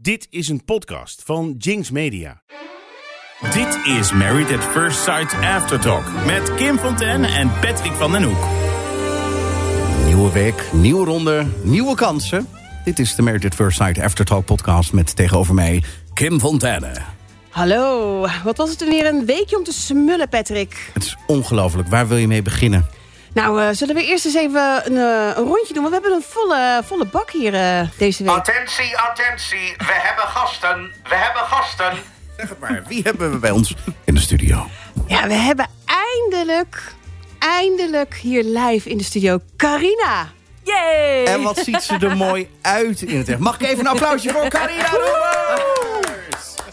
Dit is een podcast van Jinx Media. Dit is Married at First Sight Aftertalk met Kim Fontaine en Patrick van den Hoek. Nieuwe week, nieuwe ronde, nieuwe kansen. Dit is de Married at First Sight Aftertalk podcast met tegenover mij Kim Fontaine. Hallo, wat was het er weer een weekje om te smullen, Patrick? Het is ongelooflijk. Waar wil je mee beginnen? Nou, eh, zullen we eerst eens even een, eh, een rondje doen? Want we hebben een volle, volle bak hier eh, deze Ah. week. Attentie, attentie, we hebben gasten, we hebben gasten. Zeg het maar, wie hebben we bij ons in de studio? Ja, we hebben eindelijk, eindelijk hier live in de studio Carina. Yay! En wat ziet ze er mooi uit in het echt. Mag ik even een applausje voor Carina Roemer?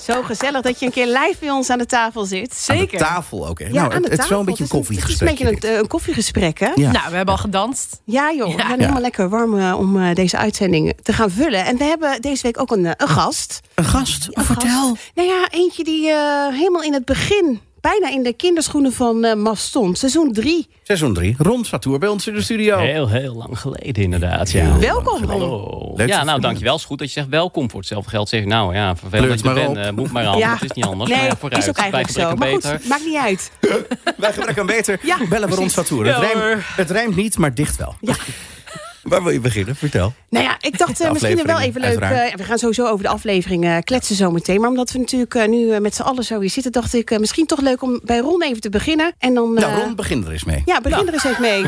Zo gezellig dat je een keer live bij ons aan de tafel zit. Aan de Zeker. tafel ook. hè? Ja, nou, aan het, de het is wel een tafel. beetje een Het is koffiegesprek. Het is een beetje een, eh, een koffiegesprek, hè? Ja. Nou, we hebben al gedanst. Ja joh, we zijn Ja. helemaal lekker warm eh, om eh, deze uitzending te gaan vullen. En we hebben deze week ook een, eh, een gast. Een gast? Oh, vertel. Gast. Nou ja, eentje die eh, helemaal in het begin, bijna in de kinderschoenen van eh Mas stond. Seizoen 3. Seizoen 3, Ron Satour bij ons in de studio. Oh. Heel, heel lang geleden inderdaad. Ja. Welkom Ron. Hallo. dat je Ja, er nou bent. dankjewel. Is goed dat je zegt welkom voor hetzelfde geld. Zeg je, nou ja, vervelend Kleurt dat je er maar bent. op. eh, moet maar anders. Het is niet anders. Nee, maar ja, vooruit. is ook eigenlijk Bij zo. gebrek Maar aan goed, maakt niet uit. Wij gebrek aan beter. Ja, Bellen we Ron Satour. Het, Ja, rijmt, hoor. het rijmt niet, maar dicht wel. Ja. Waar wil je beginnen? Vertel. Nou ja, ik dacht eh, misschien wel even leuk. uiteraard. eh, we gaan sowieso over de aflevering eh, kletsen zometeen. Maar omdat we natuurlijk eh, nu eh, met z'n allen zo hier zitten, dacht ik eh, misschien toch leuk om bij Ron even te beginnen. En dan. Nou, eh, Ron, begin er eens mee. Ja, Nou. begin er eens even mee.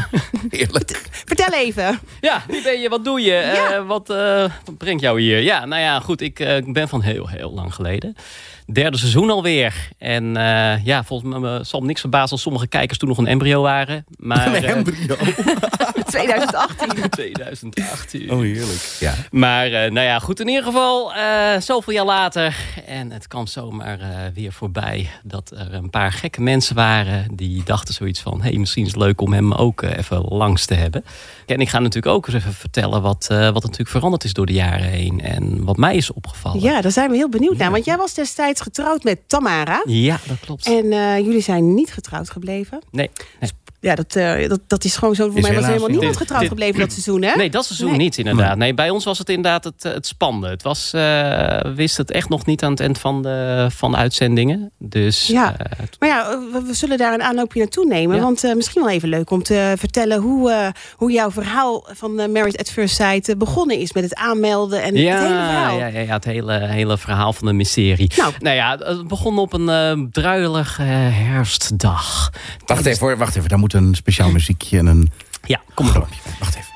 Heerlijk. Vertel even. Ja, wie ben je? Wat doe je? Ja. Eh, wat, eh, wat brengt jou hier? Ja, nou ja, goed. Ik eh, ik ben van heel, heel lang geleden. Derde seizoen alweer. En eh, ja, volgens mij me zal me niks verbazen als sommige kijkers toen nog een embryo waren. Maar Een eh, embryo. 2018. 2018. Oh, heerlijk. Ja. Maar eh, nou ja, goed in ieder geval, eh, zoveel jaar later. En het kwam zomaar eh, weer voorbij dat er een paar gekke mensen waren. Die dachten zoiets van, hey, misschien is het leuk om hem ook eh, even langs te hebben. En ik ga natuurlijk ook eens even vertellen wat, eh, wat natuurlijk veranderd is door de jaren heen. En wat mij is opgevallen. Ja, daar zijn we heel benieuwd naar. Want jij was destijds getrouwd met Tamara. Ja, dat klopt. En eh, jullie zijn niet getrouwd gebleven. Nee, nee. Ja, dat, eh, dat, dat is gewoon zo. Voor Is mij was helaas helemaal niet. niemand Dit- getrouwd dit- gebleven dat seizoen, hè? Nee, dat seizoen Nee. niet inderdaad. Nee, bij ons was het inderdaad het, eh, het spannende. Het was, eh, we wisten het echt nog niet aan het eind van de, van de uitzendingen. Dus Ja. eh, Maar ja, we, we zullen daar een aanloopje naartoe nemen. Ja. Want eh, misschien wel even leuk om te vertellen hoe, eh, hoe jouw verhaal van eh Married at First Sight eh, begonnen is. Met het aanmelden en het hele verhaal. Ja, ja, ja, het hele, hele verhaal van de mysterie. Nou. ja, het begon op een eh druilige herfstdag. Wacht even, hoor, wacht even. Daar moet een speciaal muziekje en een Ja, kom maar op. grapje bij. Wacht even.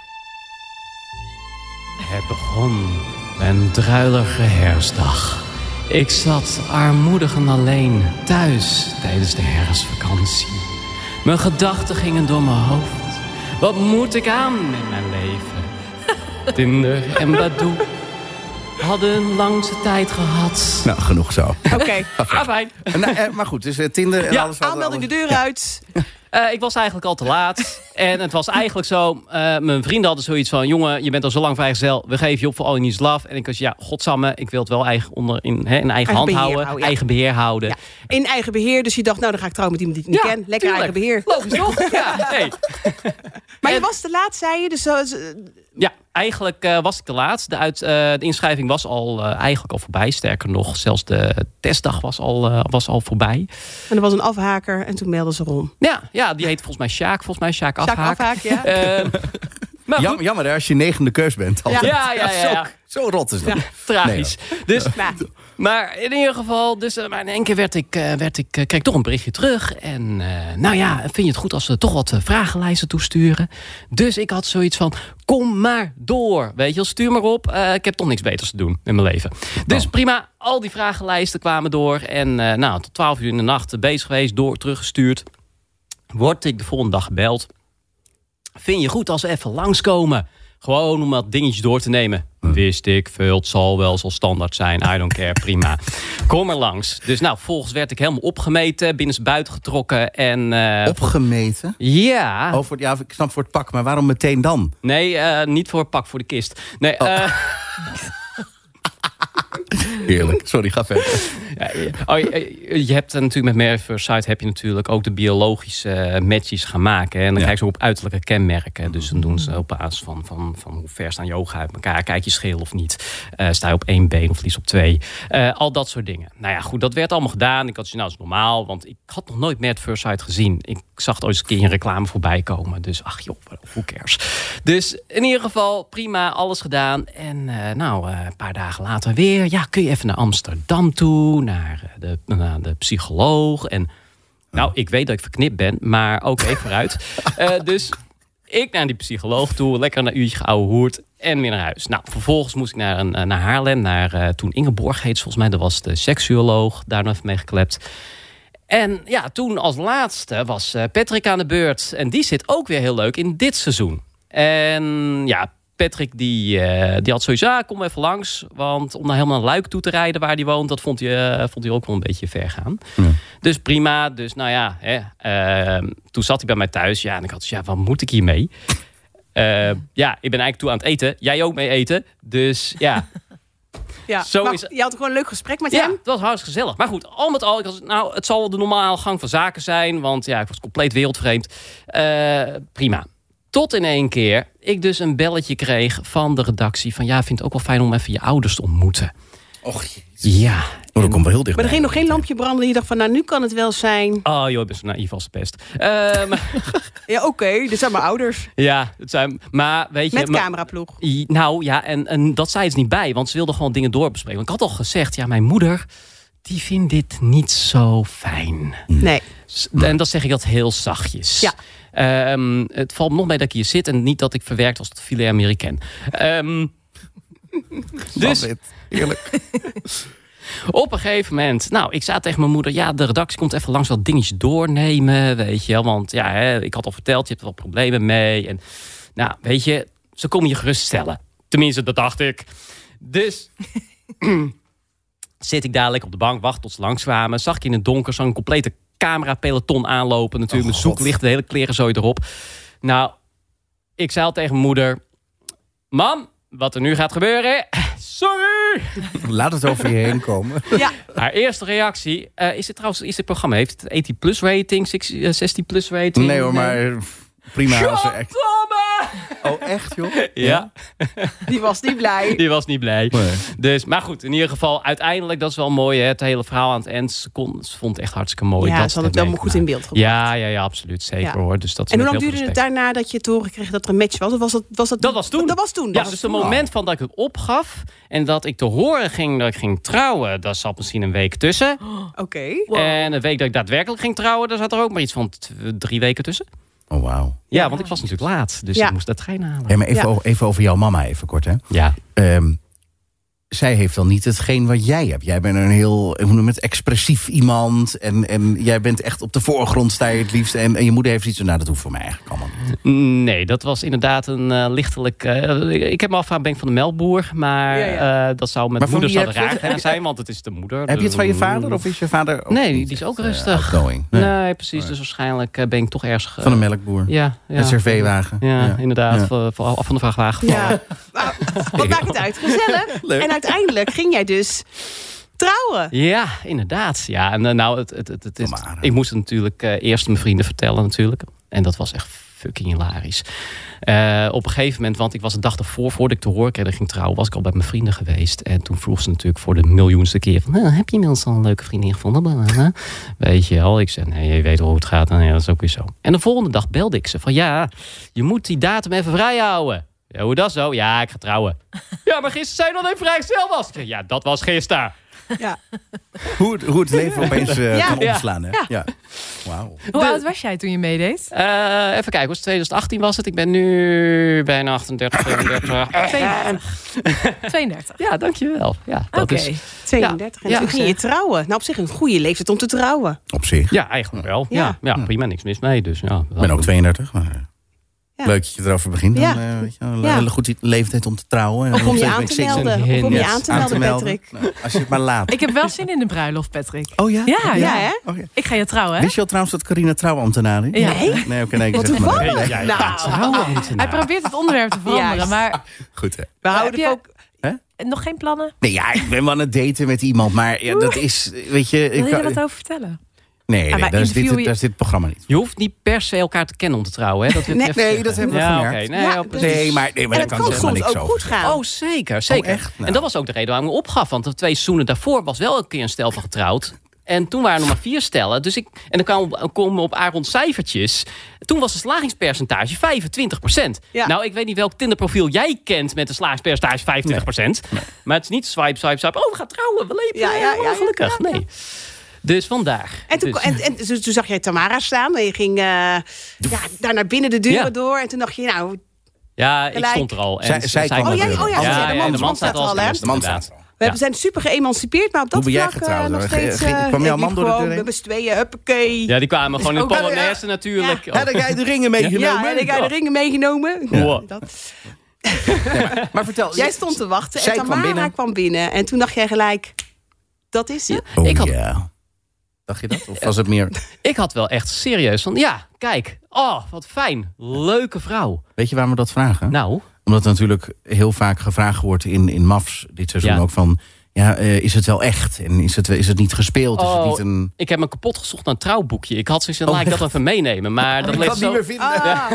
Het begon met een druilige herfstdag. Ik zat armoedig en alleen thuis tijdens de herfstvakantie. Mijn gedachten gingen door mijn hoofd. Wat moet ik aan in mijn leven? Tinder en Badoo hadden een langste tijd gehad. Ah, Nou, genoeg zo. Oké, Afijn. nou, eh, maar goed, dus eh, Tinder en Ja, alles. hadden- aanmelding de deur uit. Eh, ik was eigenlijk al te laat. en het was eigenlijk zo... eh, mijn vrienden hadden zoiets van... jongen, je bent al zo lang vrijgezel. We geven je op voor All You Need Is Love. En ik was, ja, godsamme. Ik wil het wel eigen, onder, in, hè, in eigen, hand beheer houden. houden, ja. Eigen beheer houden. Ja. In eigen beheer. Dus je dacht, nou dan ga ik trouwen met iemand die ik niet Ja, ken. Lekker tuurlijk. eigen beheer. Logisch toch? Ja, nee. Maar je En- was te laat, zei je. Dus zo, zo- ja eigenlijk eh, was ik te laat. De, uit, eh, de inschrijving was al eh, eigenlijk al voorbij. Sterker nog, zelfs de testdag was al, eh, was al voorbij. en er was een afhaker en toen meldden ze Ron. Ja, ja die heet volgens mij Sjaak. Volgens mij Sjaak Zaak Afhaak. afhaak, ja. Ehm, maar goed, Jammer, jammer hè, als je negende keus bent. altijd. Ja, ja, ja, ja. Zo, zo rot is dat. tragisch. Dus, Nou, Maar in ieder geval, dus, eh, maar in één keer werd ik, eh, werd ik, eh, kreeg ik toch een berichtje terug. En eh, nou ja, vind je het goed als we toch wat eh, vragenlijsten toesturen? Dus ik had zoiets van, kom maar door. Weet je wel, stuur maar op. Eh, ik heb toch niks beters te doen in mijn leven. Dus prima, al die vragenlijsten kwamen door. En eh, nou, tot 12 uur in de nacht bezig geweest, door, teruggestuurd. Word ik de volgende dag gebeld. Vind je goed als we even langskomen? Gewoon om dat dingetje door te nemen. Wist ik veel, het zal wel, zal standaard zijn. I don't care, prima. Kom er langs. Dus nou, volgens werd ik helemaal opgemeten, binnensbuiten getrokken. En eh, Opgemeten. ja, Oh, voor, ja, ik snap voor het pak, maar waarom meteen dan? nee, eh, niet voor pak voor de kist. Nee, eh, Heerlijk. Sorry, ga verder. Ja, ja. Oh, je- je- je hebt dan natuurlijk met Marriage First Sight heb je natuurlijk ook de biologische eh, matches gaan maken. Hè? En dan kijk je ook op uiterlijke kenmerken. Dus dan doen ze op basis van, van, van hoe ver staan je ogen uit elkaar. Kijk je scheel of niet. Eh, sta je op één been of liefst op twee. Eh, al dat soort dingen. Nou ja, goed, dat werd allemaal gedaan. Ik had zoiets, nou, dat is normaal. Want ik had nog nooit Marriage First Sight gezien. Ik zag het ooit eens een keer in reclame voorbij komen. Dus ach joh, hoe cares. Dus in ieder geval, prima, alles gedaan. En eh, nou, eh, een paar dagen later weer. Ja, kun je even naar Amsterdam toe, naar eh, de, naar de psycholoog. En nou, ik weet dat ik verknipt ben, maar oké, vooruit. Eh, dus ik naar die psycholoog toe, lekker een uurtje geouwehoerd en weer naar huis. Nou, vervolgens moest ik naar, een, eh, naar Haarlem, naar eh, toen Ingeborg heet volgens mij. Dat was de seksuoloog, daar nog even mee geklept. En ja, toen als laatste was eh, Patrick aan de beurt. En die zit ook weer heel leuk in dit seizoen. En ja, Patrick die, eh, die had sowieso, ah, kom even langs. Want om naar helemaal naar Luik toe te rijden waar hij woont... dat vond hij, eh, vond hij ook wel een beetje ver gaan. Dus prima. Dus nou ja, hè, eh, toen zat hij bij mij thuis. Ja, en ik had zoiets, ja, wat moet ik hiermee? Eh, ja, ik ben eigenlijk toe aan het eten. Jij ook mee eten. Dus ja, Ja. Zo maar is- Je had gewoon een leuk gesprek met ja, hem. het was hartstikke gezellig. Maar goed, al met al, ik was, nou, het zal de normale gang van zaken zijn. Want ja, ik was compleet wereldvreemd. Eh, prima. Tot in één keer ik dus een belletje kreeg van de redactie. Van ja, vind het ook wel fijn om even je ouders te ontmoeten. Och, Ja. dat komt wel heel dicht. Maar er ging nog geen lampje branden. Je dacht van, nou nu kan het wel zijn. Oh joh, ik ben zo naïef als de pest. Ehm, Ja, oké. Dit zijn mijn ouders. ja, het zijn, maar weet je... Met maar- cameraploeg. I- Nou ja, en, en dat zei ze niet bij, want ze wilde gewoon dingen doorbespreken. Want ik had al gezegd, ja, mijn moeder, die vindt dit niet zo fijn. Nee. S- En dat zeg ik dat heel zachtjes. Ja. Ehm, het valt me nog mee dat ik hier zit en niet dat ik verwerkt was tot filet Amerikaan. Ehm, dus Heerlijk. op een gegeven moment, nou, ik zei tegen mijn moeder, ja, de redactie komt even langs wat dingetjes doornemen, weet je wel. Want ja, hè, ik had al verteld, je hebt er wat problemen mee. En nou, weet je, ze komen je geruststellen. Tenminste, dat dacht ik. Dus zit ik dadelijk op de bank, wacht tot ze langskwamen. Zag ik in het donker zo'n complete camerapeloton aanlopen. Natuurlijk, Oh, mijn God. zoeklicht, de hele klerenzooi erop. Nou, ik zei al tegen mijn moeder... Mam, wat er nu gaat gebeuren... Sorry! Laat het over je heen komen. Ja. Haar eerste reactie... eh, is dit trouwens is dit programma? Heeft het 18 plus rating, 60, eh, 16 plus rating? Nee hoor, maar eh, prima. Als er echt... Godverdomme! Oh, echt joh? Ja, Die was niet blij. die was niet blij. Nee. Dus, maar goed, in ieder geval, uiteindelijk, dat is wel mooi. Hè? Het hele verhaal aan het eind, ze, kon, ze vond het echt hartstikke mooi. ja, dat ze hadden het dat wel goed in beeld gebracht. Ja, ja, ja, absoluut. Zeker Ja. hoor. Dus dat En hoe met lang heel duurde veel het respect. daarna dat je te horen kreeg dat er een match was? Of was dat, was dat, Dat was toen. Dat was toen. Ja, Dat dus was het toen. moment van dat ik het opgaf en dat ik te horen ging dat ik ging trouwen, daar zat misschien een week tussen. Oké. En een week dat ik daadwerkelijk ging trouwen, daar zat er ook maar iets van t- drie weken tussen. Oh, wauw. Ja, want ik was natuurlijk laat, dus Ja. ik moest dat trein halen. Hey, maar even, Ja. over, even over jouw mama even kort, hè. Ja, Ehm, zij heeft dan niet hetgeen wat jij hebt. Jij bent een heel, hoe noem je het, expressief iemand. En, en jij bent echt op de voorgrond sta je het liefst. En, en je moeder heeft iets van, nou, dat hoeft voor mij eigenlijk allemaal niet. nee, dat was inderdaad een eh, lichtelijk... eh, ik- ik heb me afgevraagd, ben ik van de melkboer? Maar Ja, ja. eh, dat zou met Maar van moeder wie zou heb je raar het? gaan zijn, want het is de moeder. Heb je het van je Dus- vader of is je vader ook Nee, niet die is echt, ook eh, rustig. outgoing? Nee, Nee. precies. Dus waarschijnlijk eh, ben ik toch ergens... ge- Van een melkboer. Ja, ja. Een surveewagen. Ja, inderdaad. Ja. van- van- Af van de vrachtwagen. Ja. Nou, wat maakt het uit? Gezellig. En uiteindelijk ging jij dus trouwen. Ja, inderdaad. Ja, en eh, nou, het, het, het, het, het- Maar, hè. ik moest het natuurlijk eh, eerst mijn vrienden vertellen natuurlijk. En dat was echt fucking hilarisch. Eh, op een gegeven moment, want ik was de dag ervoor, voordat ik te horen kreeg dat ik ging trouwen, was ik al bij mijn vrienden geweest. En toen vroeg ze natuurlijk voor de miljoenste keer van, "Nou, heb je inmiddels al een leuke vriendin gevonden? Bla, bla, bla." Weet je al, ik zei, nee, je weet wel hoe het gaat. Nou ja, dat is ook weer zo. En de volgende dag belde ik ze van, ja, je moet die datum even vrijhouden. Ja, hoe dat zo? Ja, ik ga trouwen. Ja, maar gisteren zei je dat ik vrijgezel was. Ik zei, ja, dat was gisteren. Ja. Hoe, het- hoe het leven opeens eh, Ja. kan Ja. omslaan, hè? Ja. Wauw. Hoe De- oud was jij toen je meedeed? Eh, even kijken, was 2018 was het. Ik ben nu bijna 38, 37. 32. 32. Ja, dankjewel. Ja, dat Oké. is, 32. En Ja, toen ging je zeg. trouwen. Nou, op zich een goede leeftijd om te trouwen. Op zich. ja eigenlijk wel. Ja, ja, prima, niks mis mee. Dus, ja, Ik ben ook 32, maar... eh, Ja. Leuk dat je erover begint. Dan, Ja. eh, weet je, wel, een Ja. hele goede leeftijd om te trouwen. En Of om nog je steeds aan met te seks en- melden. Of om je Yes. aan te melden, Patrick. Nou, als je het maar laat. Ik heb wel zin in de bruiloft, Patrick. Oh ja? Ja, ja. Ja, hè? Oh, ja. Ik ga je trouwen, hè? Wist je al trouwens dat Carina trouwambtenaar is? Ja. Nee? Nee, oké, nee, ik Wat zeg maar. toevallig. Nee, Nou, Trouwen, ambtenaar. Hij probeert het onderwerp te veranderen, Juist. maar Goed, hè? we houden Heb Eh, ook... Hè? nog geen plannen? Nee, ja, ik ben wel aan het daten met iemand. Maar ja, dat is, weet je... Wil Ik je kan- wat over vertellen? Ah, nee, nee maar daar, is dit, interview je- daar is dit programma niet. Je hoeft niet per se elkaar te kennen om te trouwen. Hè? Dat wil ik Nee, even nee, zeggen. dat hebben we ja, gemerkt. oké. Nee, Ja, ja, dus- precies. Nee, maar, nee, maar en daar het kan ik kan helemaal soms niks ook over goed zeggen. gaan. Oh, zeker, zeker. echt? Nou. En dat was ook de reden waarom ik opgaf. Want de twee seizoenen daarvoor was wel een keer een stel van getrouwd. En toen waren er nog maar vier stellen. Dus ik, en dan kwam op, kom op Aaron cijfertjes. Toen was het slagingspercentage 25 Ja. Nou, ik weet niet welk Tinderprofiel jij kent met een slagingspercentage 25 Maar het is niet swipe, swipe, swipe. Oh, we gaan trouwen. We leven. Ja, Ja, ja, ja, ja. gelukkig. Ja, ja. Nee. Dus vandaag. En toen, Dus- en, en, dus toen zag jij Tamara staan en je ging eh, ja, daar naar binnen de deuren Ja. door. En toen dacht je, nou, ja, ik gelijk. stond er al. En Zij- zij kwam kwam er binnen. er binnen. Oh, ja, oh ja, de man- en de man staat er al, hè? eerste, De man inderdaad. staat er al. we Ja. zijn super geëmancipeerd. Maar op dat Hoe ben jij vlak eh, getrouwd, nog hoor? steeds... Ging- eh, kwam jouw ik man liep door de gewoon deur heen? Met z'n tweeën, huppakee. Ja, die kwamen gewoon in ook wel- Polonaise natuurlijk. Ja, dan jij de ringen meegenomen. Ja, en ik had de ringen meegenomen. Ja. Dat. Maar vertel, Jij stond te wachten Zij en kwam Tamara kwam binnen. binnen. En toen dacht jij gelijk, dat is het. Oh, Ik had- ja. Dacht je dat? Of was het meer... Ik had wel echt serieus van, ja, kijk. Oh, wat fijn. Leuke vrouw. Weet je waarom we dat vragen? Nou, Omdat er natuurlijk heel vaak gevraagd wordt in, in MAFs dit seizoen Ja. ook van... Ja, eh, is het wel echt? En is het, is het niet gespeeld? Is het Oh, niet een... ik heb me kapot gezocht naar een trouwboekje. Ik had zoiets van, Oh, laat ik dat echt? even meenemen. Maar dat leek zo... vinden. Ah,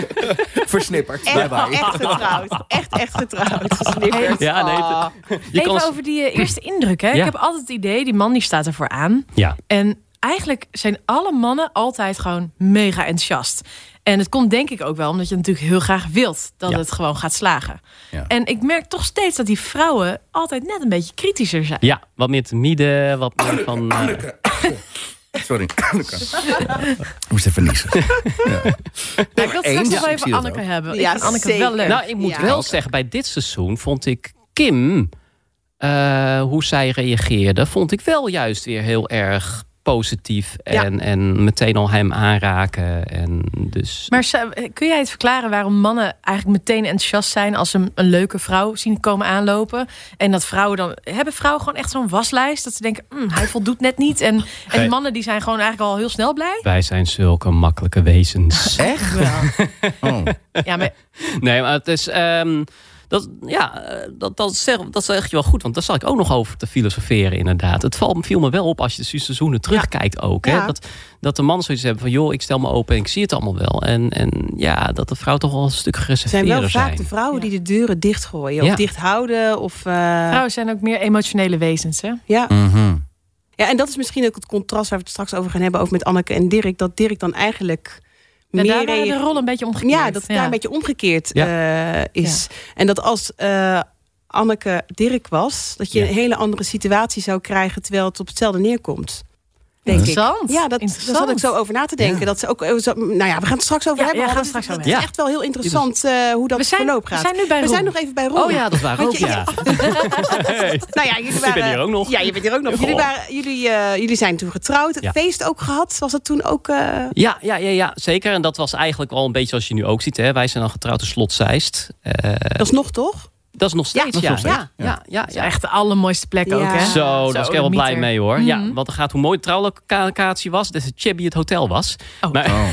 Versnipperd. echt, echt getrouwd. Echt, echt getrouwd. Snippers. Ja, nee, Ah. Je Even kan... over die eh, eerste indruk, hè? Ja. Ik heb altijd het idee, die man die staat ervoor aan. Ja. En eigenlijk zijn alle mannen altijd gewoon mega enthousiast. En het komt denk ik ook wel omdat je natuurlijk heel graag wilt dat Ja. het gewoon gaat slagen. Ja. En ik merk toch steeds dat die vrouwen altijd net een beetje kritischer zijn. Ja, wat meer te midden, wat meer van... eh, Sorry. Anneke. Ik moest even niezen. Maar Nou, ik wil straks eens. nog Ja, wel ik even zie dat Anneke ook. hebben. Ja, ik vind Anneke zeker. wel leuk. nou, ik moet Ja. wel zeggen, bij dit seizoen vond ik Kim... eh, hoe zij reageerde, vond ik wel juist weer heel erg positief. Ja. En, en meteen al hem aanraken. En dus... maar Sa- kun jij het verklaren waarom mannen eigenlijk meteen enthousiast zijn als ze een, een leuke vrouw zien komen aanlopen? En dat vrouwen dan. Hebben vrouwen gewoon echt zo'n waslijst? Dat ze denken, "Mm, hij voldoet net niet. En, en die Nee. mannen die zijn gewoon eigenlijk al heel snel blij. Wij zijn zulke makkelijke wezens. Echt? Oh. Ja, maar Nee, maar het is. ehm, dat, ja, eh, dat, dat, zeg, dat zeg je wel goed, want daar zal ik ook nog over te filosoferen, inderdaad. Het val, viel me wel op als je de seizoenen terugkijkt ook. Hè? Ja. Dat, dat de mannen zoiets hebben van, joh, ik stel me open en ik zie het allemaal wel. En, en ja, dat de vrouw toch wel een stuk Het zijn gereserveerder wel zijn. vaak de vrouwen die de deuren dichtgooien. Of Ja. dicht houden. Of, eh, vrouwen Oh, zijn ook meer emotionele wezens, hè? ja. Mhm. ja, en dat is misschien ook het contrast waar we het straks over gaan hebben. Over met Anneke en Dirk. Dat Dirk dan eigenlijk En daar meer... waren de reage- rollen een beetje omgekeerd. Ja, dat het daar een beetje omgekeerd Ja. eh, is. En dat als eh, Anneke Dirk was, dat je Ja. een hele andere situatie zou krijgen, terwijl het op hetzelfde neerkomt. Denk Interessant. Ik. Ja, dat, daar Interessant. zat ik zo over na te denken. Dat ze ook, eh, zo- nou ja, we gaan het straks over Ja, hebben. ja, want gaan we dat straks is- over dat is hebben. echt wel heel interessant eh, hoe dat We zijn, verloop we gaat. zijn nu bij we zijn Roel. nog even bij Ron. Oh ja, dat waren Want ook, je- ja. Nou ja, jullie waren, ben hier ook nog. Ja, je bent hier ook nog. Jullie, Goh. waren, jullie, eh, jullie zijn toen getrouwd. Het Ja. feest ook gehad. Was dat toen ook... eh, Ja, ja, ja, ja, zeker. En dat was eigenlijk al een beetje zoals je nu ook ziet. Hè? Wij zijn dan getrouwd in Slot Zeist. Eh, dat is nog toch? dat is nog Ja, steeds, dat is ja. nog steeds, ja, ja, ja, ja. Echt de allermooiste plek Ja. ook, hè? Zo, Zo, daar was ik de wel blij mieter. mee hoor. Ja, Mhm. want dan gaat hoe mooi de trouwlocatie was. Dat is het Chabby het hotel was. Oh. Maar Oh.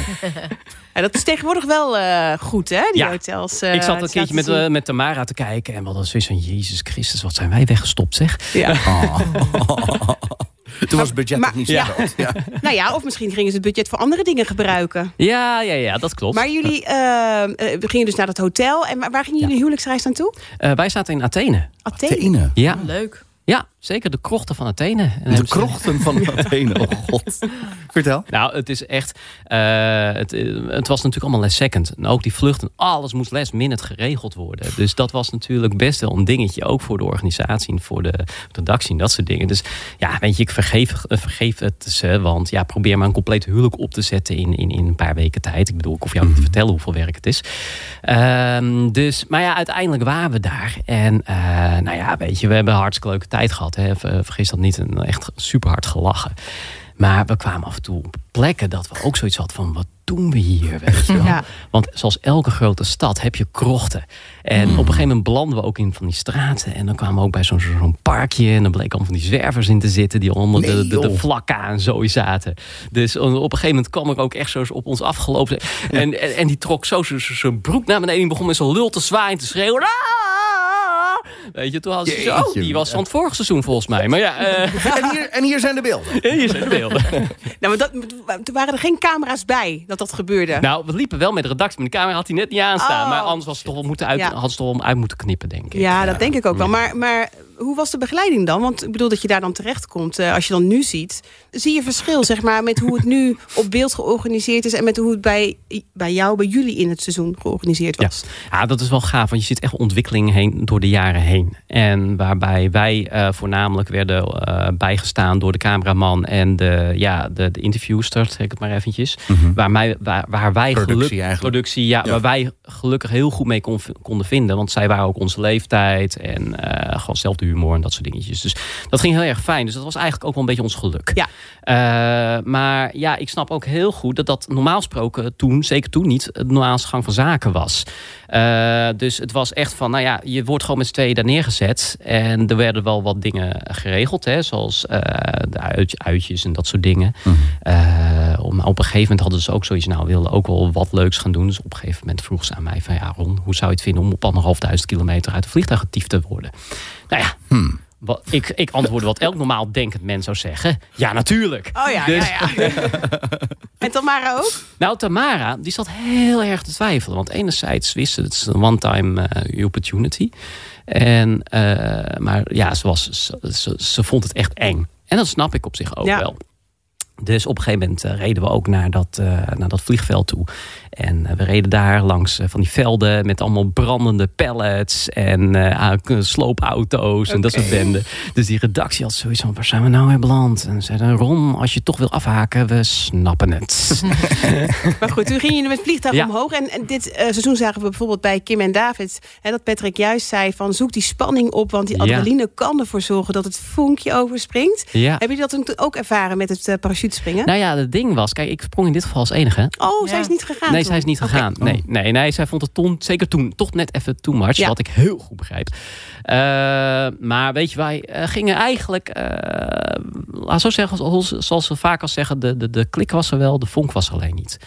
Ja, dat is tegenwoordig wel eh, goed, hè? Die Ja. hotels. eh, ik zat een laten keertje met, zien. eh, met Tamara te kijken. En wat hadden zoiets van, Jezus Christus, wat zijn wij weggestopt zeg. Ja. Oh. Toen was het budget Maar- nog niet zo ja. groot. Ja. nou ja, of misschien gingen ze het budget voor andere dingen gebruiken. Ja, ja, ja, dat klopt. Maar jullie eh, eh, we gingen dus naar dat hotel. En waar, waar gingen jullie huwelijksreis naartoe? Eh, wij zaten in Athene. Athene. Athene. Ja, Leuk. ja zeker de krochten van Athene. En De hebben ze- krochten van Athene. Oh god. Vertel. Nou, het is echt. eh, het, eh, het was natuurlijk allemaal last second. En ook die vluchten, alles moest last minute geregeld worden. Dus dat was natuurlijk best wel een dingetje. Ook voor de organisatie en voor de redactie en dat soort dingen. Dus ja, weet je, ik vergeef, eh, vergeef het ze. Want ja, probeer maar een compleet huwelijk op te zetten in, in, in een paar weken tijd. Ik bedoel, ik hoef jou niet te vertellen hoeveel werk het is. Ehm, dus, maar ja, uiteindelijk waren we daar. En eh, nou ja, weet je, we hebben een hartstikke leuke tijd gehad. Hè. Ver- Vergis dat niet. En echt super hard gelachen. Maar we kwamen af en toe op plekken dat we ook zoiets hadden van... wat doen we hier, weet je wel? Ja. Want zoals elke grote stad heb je krochten. En op een gegeven moment belanden we ook in van die straten. En dan kwamen we ook bij zo'n zo'n parkje. En dan bleek allemaal van die zwervers in te zitten... die onder de, de, de joh. vlakken en zo zaten. Dus op een gegeven moment kwam er ook echt zo op ons afgelopen. En, en, en die trok zo zijn broek naar beneden. En die begon met zo'n lul te zwaaien en te schreeuwen. Ah! Weet je, toen hadden ze Jeetje. oh, die was van het vorige seizoen volgens mij. Maar ja, eh, En hier, en hier zijn de beelden. hier zijn de beelden. Nou, maar dat, toen waren er geen camera's bij dat dat gebeurde. Nou, we liepen wel met de redactie, maar de camera had hij net niet aanstaan. Oh. Maar anders was het toch wel moeten uit, Ja. had ze toch wel uit moeten knippen, denk ik. ja, dat denk ik ook wel. Maar, maar hoe was de begeleiding dan? Want ik bedoel dat je daar dan terechtkomt. eh als je dan nu ziet, zie je verschil zeg maar, met hoe het nu op beeld georganiseerd is... en met hoe het bij, bij jou, bij jullie in het seizoen georganiseerd Ja. was. ja, dat is wel gaaf, want je ziet echt ontwikkeling heen, door de jaren heen. En waarbij wij eh, voornamelijk werden eh, bijgestaan door de cameraman en de, ja, de, de interviewster, zeg ik het maar eventjes. waar, mij, waar, waar wij Mhm. Productie geluk- eigenlijk. productie ja, waar wij gelukkig heel goed mee kon- konden vinden. Want zij waren ook onze leeftijd en eh gewoon zelfde humor en dat soort dingetjes. Dus dat ging heel erg fijn. Dus dat was eigenlijk ook wel een beetje ons geluk. Ja. Eh, maar ja, ik snap ook heel goed dat dat normaal gesproken toen, zeker toen niet, het normaalste gang van zaken was. Eh, dus het was echt van, nou ja, je wordt gewoon met z'n tweeën daar neergezet. En er werden wel wat dingen geregeld, hè, zoals eh, de uit- uitjes en dat soort dingen. Eh, om- maar op een gegeven moment hadden ze ook zoiets, nou, we wilden ook wel wat leuks gaan doen. Dus op een gegeven moment vroeg ze aan mij van, ja Ron, hoe zou je het vinden om op anderhalfduizend kilometer uit het vliegtuig getiefd te worden? Nou ja, wat, ik, ik antwoordde wat elk normaal denkend mens zou zeggen. Ja, natuurlijk. Oh ja, Dus- ja, ja. en Tamara ook? Nou, Tamara, die zat heel erg te twijfelen. Want enerzijds wist ze, het is een one-time eh, opportunity. En, eh, maar ja, ze, was, ze, ze, ze vond het echt eng. En dat snap ik op zich ook Ja. wel. Dus op een gegeven moment eh, reden we ook naar dat, eh, naar dat vliegveld toe. En eh, we reden daar langs eh, van die velden met allemaal brandende pallets en eh, aan- sloopauto's en dat soort benden. Dus die redactie had zoiets van, waar zijn we nou in beland? En zeiden, Ron, als je toch wil afhaken, we snappen het. Maar goed, toen gingen jullie met het vliegtuig Ja. omhoog. En, en dit eh, seizoen zagen we bijvoorbeeld bij Kim en David... Hè, dat Patrick juist zei van zoek die spanning op... want die Ja. adrenaline kan ervoor zorgen dat het vonkje overspringt. ja. Hebben jullie dat toen ook ervaren met het eh, parachutespringen? Nou ja, het ding was, kijk, ik sprong in dit geval als enige. oh, Ja. zij is niet gegaan Nou, Nee, toen. zij is niet Oké. Oh. gegaan. Nee, nee, nee, zij vond het toen, zeker toen, toch net even too much. Ja. Wat ik heel goed begrijp. Eh, maar weet je, wij eh, gingen eigenlijk, eh, laat zo zeggen, zoals, zoals we vaak al zeggen, de, de, de klik was er wel, de vonk was er alleen niet.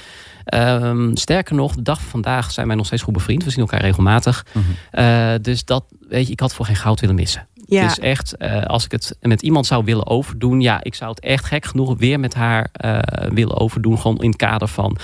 Ehm, sterker nog, de dag van vandaag zijn wij nog steeds goed bevriend. We zien elkaar regelmatig. Mhm. Eh, dus dat, weet je, ik had voor geen goud willen missen. Ja. Dus echt, eh, als ik het met iemand zou willen overdoen, ja, ik zou het echt gek genoeg weer met haar eh, willen overdoen. Gewoon in het kader van,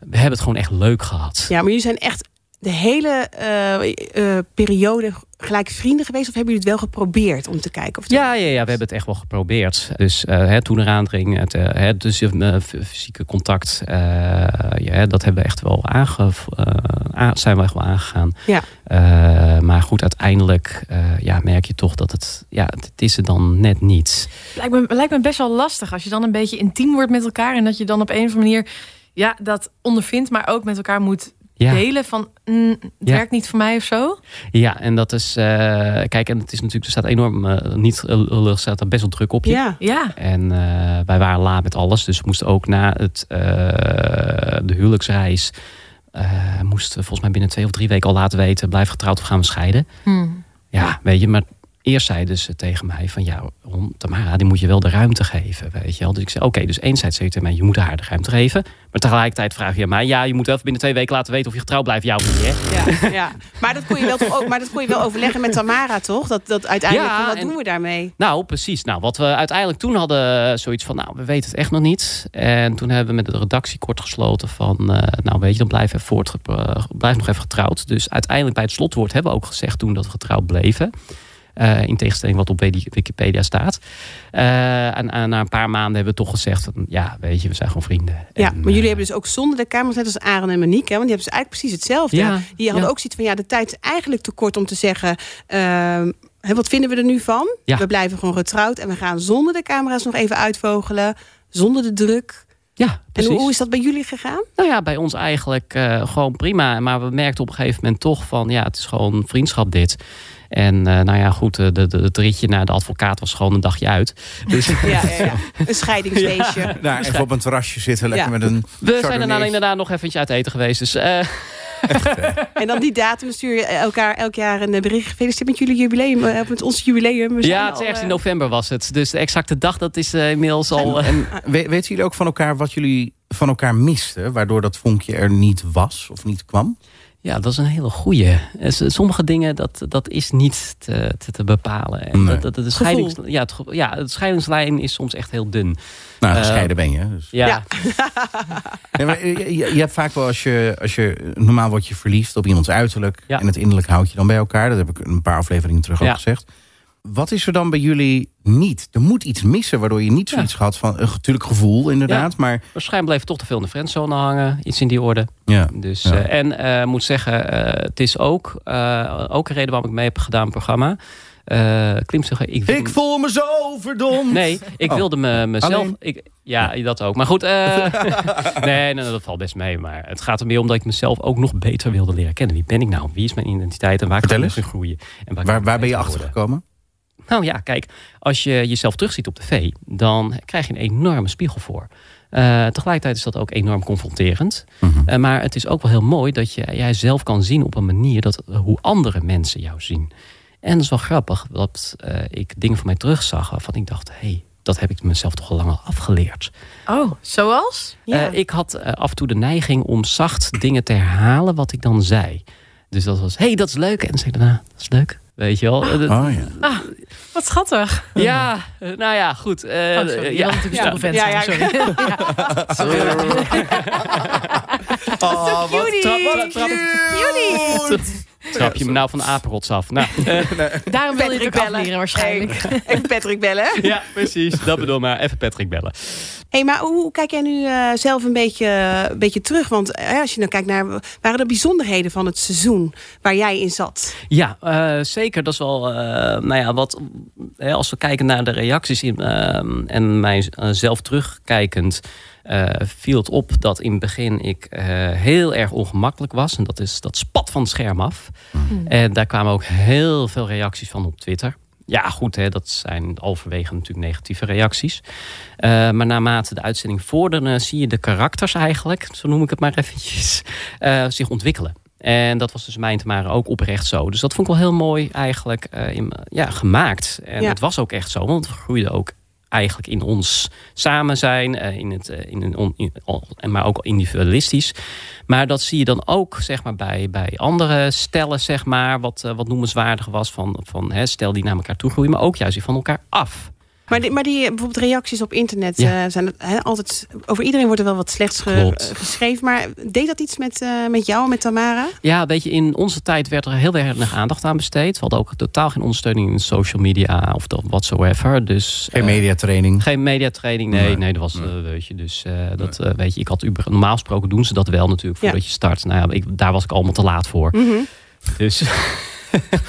we hebben het gewoon echt leuk gehad. ja, maar jullie zijn echt de hele eh, eh, periode gelijk vrienden geweest... of hebben jullie het wel geprobeerd om te kijken? Of het- Ja, ja, ja, we hebben het echt wel geprobeerd. Dus eh, hè, toen eraan dring, het, eh, hè, dus eh, f- fysieke contact, eh, ja, hè, dat hebben we echt wel aange, eh, a- zijn we echt wel aangegaan. Ja. Eh, maar goed, uiteindelijk eh, ja, merk je toch dat het, ja, het, het is er dan net niet. Lijkt me, lijkt me best wel lastig als je dan een beetje intiem wordt met elkaar. En dat je dan op een of andere manier ja, dat ondervindt, maar ook met elkaar moet Ja. delen. Van mm, het Ja. werkt niet voor mij of zo. Ja, en dat is. eh, kijk, en het is natuurlijk, er staat enorm. eh, niet eh, lullig, staat er best wel druk op je. ja. Ja, En eh, wij waren laat met alles. Dus we moesten ook na het, eh, de huwelijksreis. eh moesten we volgens mij binnen twee of drie weken al laten weten. Blijf getrouwd of gaan we scheiden. Hmm. Ja, weet je, maar eerst zeiden ze tegen mij van ja, Ron, Tamara, die moet je wel de ruimte geven, weet je wel. Dus ik zei, oké, dus enerzijds zei je tegen mij, je moet haar de ruimte geven. Maar tegelijkertijd vraag je aan mij, ja, je moet wel even binnen twee weken laten weten of je getrouwd blijft, ja of niet, hè? Ja, ja. Maar, dat kon je wel toch ook, maar dat kon je wel overleggen met Tamara, toch? Dat, dat uiteindelijk, Ja, van, wat en- doen we daarmee? Nou, precies. Nou, wat we uiteindelijk toen hadden, eh, zoiets van, nou, we weten het echt nog niet. En toen hebben we met de redactie kort gesloten van, eh, nou, weet je, dan blijf, even voort, eh, blijf nog even getrouwd. Dus uiteindelijk bij het slotwoord hebben we ook gezegd toen dat we getrouwd bleven. Eh, in tegenstelling wat op Wiki- Wikipedia staat. Eh, en, en na een paar maanden hebben we toch gezegd: van, ja, weet je, we zijn gewoon vrienden. Ja, En, maar jullie eh, hebben dus ook zonder de camera's, net als Aaron en Monique, hè, want die hebben ze eigenlijk precies hetzelfde. Ja, hè. die hadden ja. ook zoiets van, ja, de tijd is eigenlijk te kort om te zeggen, ehm, hè, wat vinden we er nu van? Ja. We blijven gewoon getrouwd en we gaan zonder de camera's nog even uitvogelen, zonder de druk. Ja, precies. En hoe, hoe is dat bij jullie gegaan? Nou ja, bij ons eigenlijk eh, gewoon prima. Maar we merkten op een gegeven moment toch van... ja, het is gewoon vriendschap dit. En eh, nou ja, goed, eh, de, de, het ritje naar de advocaat was gewoon een dagje uit. Dus Ja, ja, ja. Een scheidingsfeestje. Nou, even op een terrasje zitten, lekker Ja. met een we zijn daarna Chardonnay. inderdaad nog eventjes uit eten geweest. Dus eh, En dan die datum stuur je elkaar elk jaar een bericht. Gefeliciteerd met jullie jubileum, eh, met ons jubileum. We zijn ja, het al, is ergens in eh, november was het. Dus de exacte dag, dat is eh, inmiddels al... eh, We- weten jullie ook van elkaar wat jullie van elkaar misten, waardoor dat vonkje er niet was of niet kwam? Ja, dat is een hele goeie. Eh, s- Sommige dingen, dat, dat is niet te, te, te bepalen. En Nee. dat, dat, de scheidings, ja, het, ge- ja, de scheidingslijn is soms echt heel dun. Nou, Eh, gescheiden ben je. hè, Dus. Ja, Ja. Nee, maar je, je- je hebt vaak wel als je, als je. Normaal word je verliefd op iemands uiterlijk. Ja. En het innerlijk houd je dan bij elkaar. Dat heb ik een paar afleveringen terug Ja. al gezegd. Wat is er dan bij jullie niet? Er moet iets missen waardoor je niet zoiets gehad van. eh, Natuurlijk gevoel, inderdaad. Maar waarschijnlijk bleef toch te veel in de friendzone hangen. Iets in die orde. ja. Dus, Ja. eh, en eh, moet zeggen, eh, het is ook, eh, ook een reden waarom ik mee heb gedaan aan het programma. Eh Klimstugger, ik, wil- Ik voel me zo verdomd. Nee, ik Oh. wilde me, mezelf... Alleen? Ik, ja, dat ook. Maar goed, eh, nee, nee, dat valt best mee. Maar het gaat er meer om dat ik mezelf ook nog beter wilde leren kennen. Wie ben ik nou? Wie is mijn identiteit? En waar Vertel kan ik eens. in groeien? En kan Waar, ik waar ben je beter worden? achtergekomen? Nou ja, kijk, als je jezelf terugziet op tv, dan krijg je een enorme spiegel voor. Eh, tegelijkertijd is dat ook enorm confronterend. Eh, maar het is ook wel heel mooi dat je jijzelf kan zien op een manier dat eh, hoe andere mensen jou zien. En dat is wel grappig dat eh, ik dingen van mij terugzag waarvan ik dacht, hé, hey, dat heb ik mezelf toch al lang al afgeleerd. Oh, zoals? Eh, ik had eh, af en toe de neiging om zacht dingen te herhalen wat ik dan zei. Dus dat was, hé, hey, dat is leuk. En dan zei ik daarna, dat is leuk. Weet je wel, Eh, dat- Oh ja. Wat schattig. ja, eh, nou ja, goed. eh, Oh, sorry. Je ja. had natuurlijk een stomme vent Ja, ja. zijn, sorry. Oh, Cutie. Cutie. Trap je me nou van de apenrots af? Nou, Daarom wil je Patrick het ook bellen. afleren waarschijnlijk. Hey, Even Patrick bellen. hè? ja, precies. Dat bedoel maar. Even Patrick bellen. Hey, maar hoe kijk jij nu eh, zelf een beetje, een beetje terug? Want eh, als je nou kijkt naar... Waren er bijzonderheden van het seizoen waar jij in zat? Ja, eh, zeker. Dat is wel, eh, nou ja, wat, hè, als we kijken naar de reacties in, ehm, en mijzelf terugkijkend, eh, viel het op dat in het begin ik eh, heel erg ongemakkelijk was. En dat is dat spat van het scherm af. En daar kwamen ook heel veel reacties van op Twitter. Ja, goed, hè, dat zijn overwegend natuurlijk negatieve reacties. Eh, maar naarmate de uitzending vorderde, zie je de karakters eigenlijk, zo noem ik het maar eventjes, eh, zich ontwikkelen. En dat was dus mijn te maren ook oprecht zo. Dus dat vond ik wel heel mooi eigenlijk eh, in, ja, gemaakt. En Ja. het was ook echt zo, want we groeiden ook eigenlijk in ons samen zijn, eh, in het, eh, in een on, in- al- en maar ook individualistisch. Maar dat zie je dan ook zeg maar, bij, bij andere stellen, zeg maar, wat, eh, wat noemenswaardig was van, van hè, stel die naar elkaar toe groeien, maar ook juist weer van elkaar af. Maar die, maar die eh, bijvoorbeeld reacties op internet Ja. eh, zijn het, hè, altijd. Over iedereen wordt er wel wat slechts ge- Klopt. eh, geschreven. Maar deed dat iets met, eh, met jou, met Tamara? Ja, weet je, in onze tijd werd er heel weinig aandacht aan besteed. We hadden ook totaal geen ondersteuning in social media of dat whatsoever. Dus Geen eh, mediatraining. Geen mediatraining, nee. Nee. Nee, dat was, eh, weet je, dus eh, dat, eh, weet je, ik had uber, normaal gesproken doen ze dat wel Ja. Mhm. natuurlijk voordat je start. Nou ja, ik, daar was ik allemaal te laat voor. Dus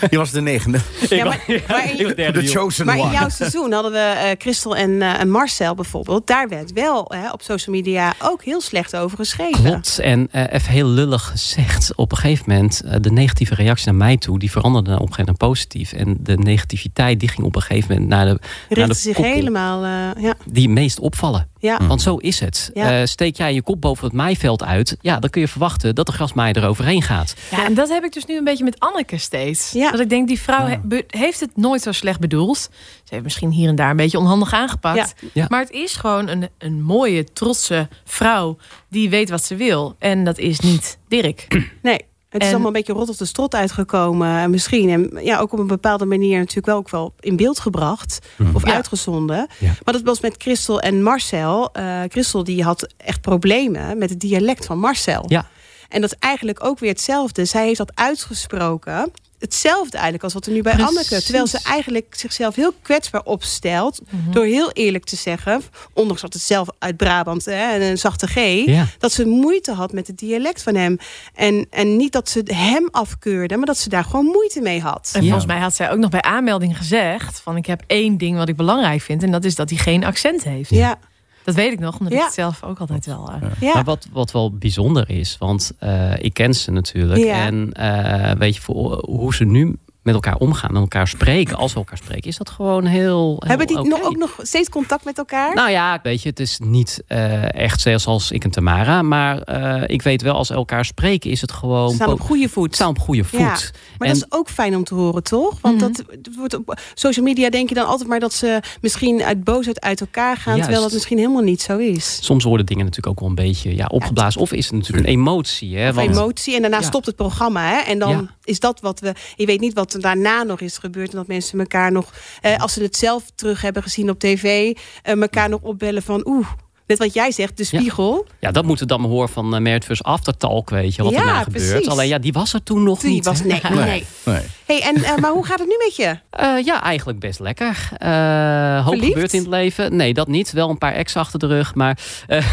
Je was de negende. ja, maar, maar, ik was in, derde, The joh. chosen maar in one. jouw seizoen hadden we eh, Christel en, eh, en Marcel bijvoorbeeld. Daar werd wel hè, op social media ook heel slecht over geschreven. Klopt, en eh, even heel lullig gezegd, op een gegeven moment, eh, de negatieve reactie naar mij toe, die veranderde op een gegeven moment naar positief. En de negativiteit, die ging op een gegeven moment naar de, naar Richtte de zich koppel helemaal. eh, ja, die meest opvallen. ja. Want zo is het. Ja. Eh, steek jij je kop boven het maaiveld uit, ja, dan kun je verwachten dat de grasmaaier er overheen gaat. Ja, en dat heb ik dus nu een beetje met Anneke steeds. Ja. Dat ik denk, die vrouw he- be- heeft het nooit zo slecht bedoeld. Ze heeft misschien hier en daar een beetje onhandig aangepakt. Ja. Maar het is gewoon een, een mooie, trotse vrouw die weet wat ze wil. En dat is niet Dirk. Nee. Het is En- allemaal een beetje rot op de strot uitgekomen eh, misschien. En ja, ook op een bepaalde manier natuurlijk wel ook wel in beeld gebracht. Of Ja. uitgezonden. Hmm. Ja. Maar dat was met Christel en Marcel. Eh, Christel die had echt problemen met het dialect van Marcel. Ja. En dat is eigenlijk ook weer hetzelfde. Zij heeft dat uitgesproken. Hetzelfde eigenlijk als wat er nu bij Precies. Anneke. Terwijl ze eigenlijk zichzelf heel kwetsbaar opstelt. Mhm. Door heel eerlijk te zeggen. Ondanks dat het zelf uit Brabant hè, en een zachte G Ja. dat ze moeite had met het dialect van hem. En, en niet dat ze hem afkeurde, maar dat ze daar gewoon moeite mee had. En volgens mij had zij ook nog bij aanmelding gezegd... van ik heb één ding wat ik belangrijk vind... en dat is dat hij geen accent heeft. Ja, Dat weet ik nog, omdat ik Ja. het zelf ook altijd wel... eh, ja. Maar wat, wat wel bijzonder is, want eh, ik ken ze natuurlijk. Ja. En eh, weet je, voor, hoe ze nu met elkaar omgaan en elkaar spreken, als we elkaar spreken, is dat gewoon heel. heel Hebben die oké. nog, ook nog steeds contact met elkaar? Nou ja, weet je, het is niet eh, echt zoals ik en Tamara. Maar eh, ik weet wel, als we elkaar spreken, is het gewoon. Ze staan op po- goede voet. staan op goede voet. Ja, Maar En- Mhm. dat is ook fijn om te horen, toch? Want dat dat wordt op social media denk je dan altijd maar dat ze misschien uit boosheid uit elkaar gaan, terwijl dat Juist. misschien helemaal niet zo is. Soms worden dingen natuurlijk ook wel een beetje ja, opgeblazen. Of is het natuurlijk een emotie. Hè? Of Want- emotie en daarna Ja. stopt het programma. Hè? En dan Ja. is dat wat we. Je weet niet wat er daarna nog is gebeurd. En dat mensen elkaar nog, eh, als ze het zelf terug hebben gezien op tv, eh, elkaar nog opbellen van oeh. Net wat jij zegt, de Ja. spiegel. ja, dat moeten we dan maar horen van uh, Merit vs. Aftertalk, weet je, wat Ja, daarna gebeurt. precies. Alleen ja, die was er toen nog Die niet. was hè? nee, nee. nee. Nee. Hey, en, eh, maar hoe gaat het nu met je? Eh, ja, eigenlijk best lekker. Eh hoop Verliefd? gebeurt in het leven. Nee, dat niet. Wel een paar ex achter de rug, maar... eh,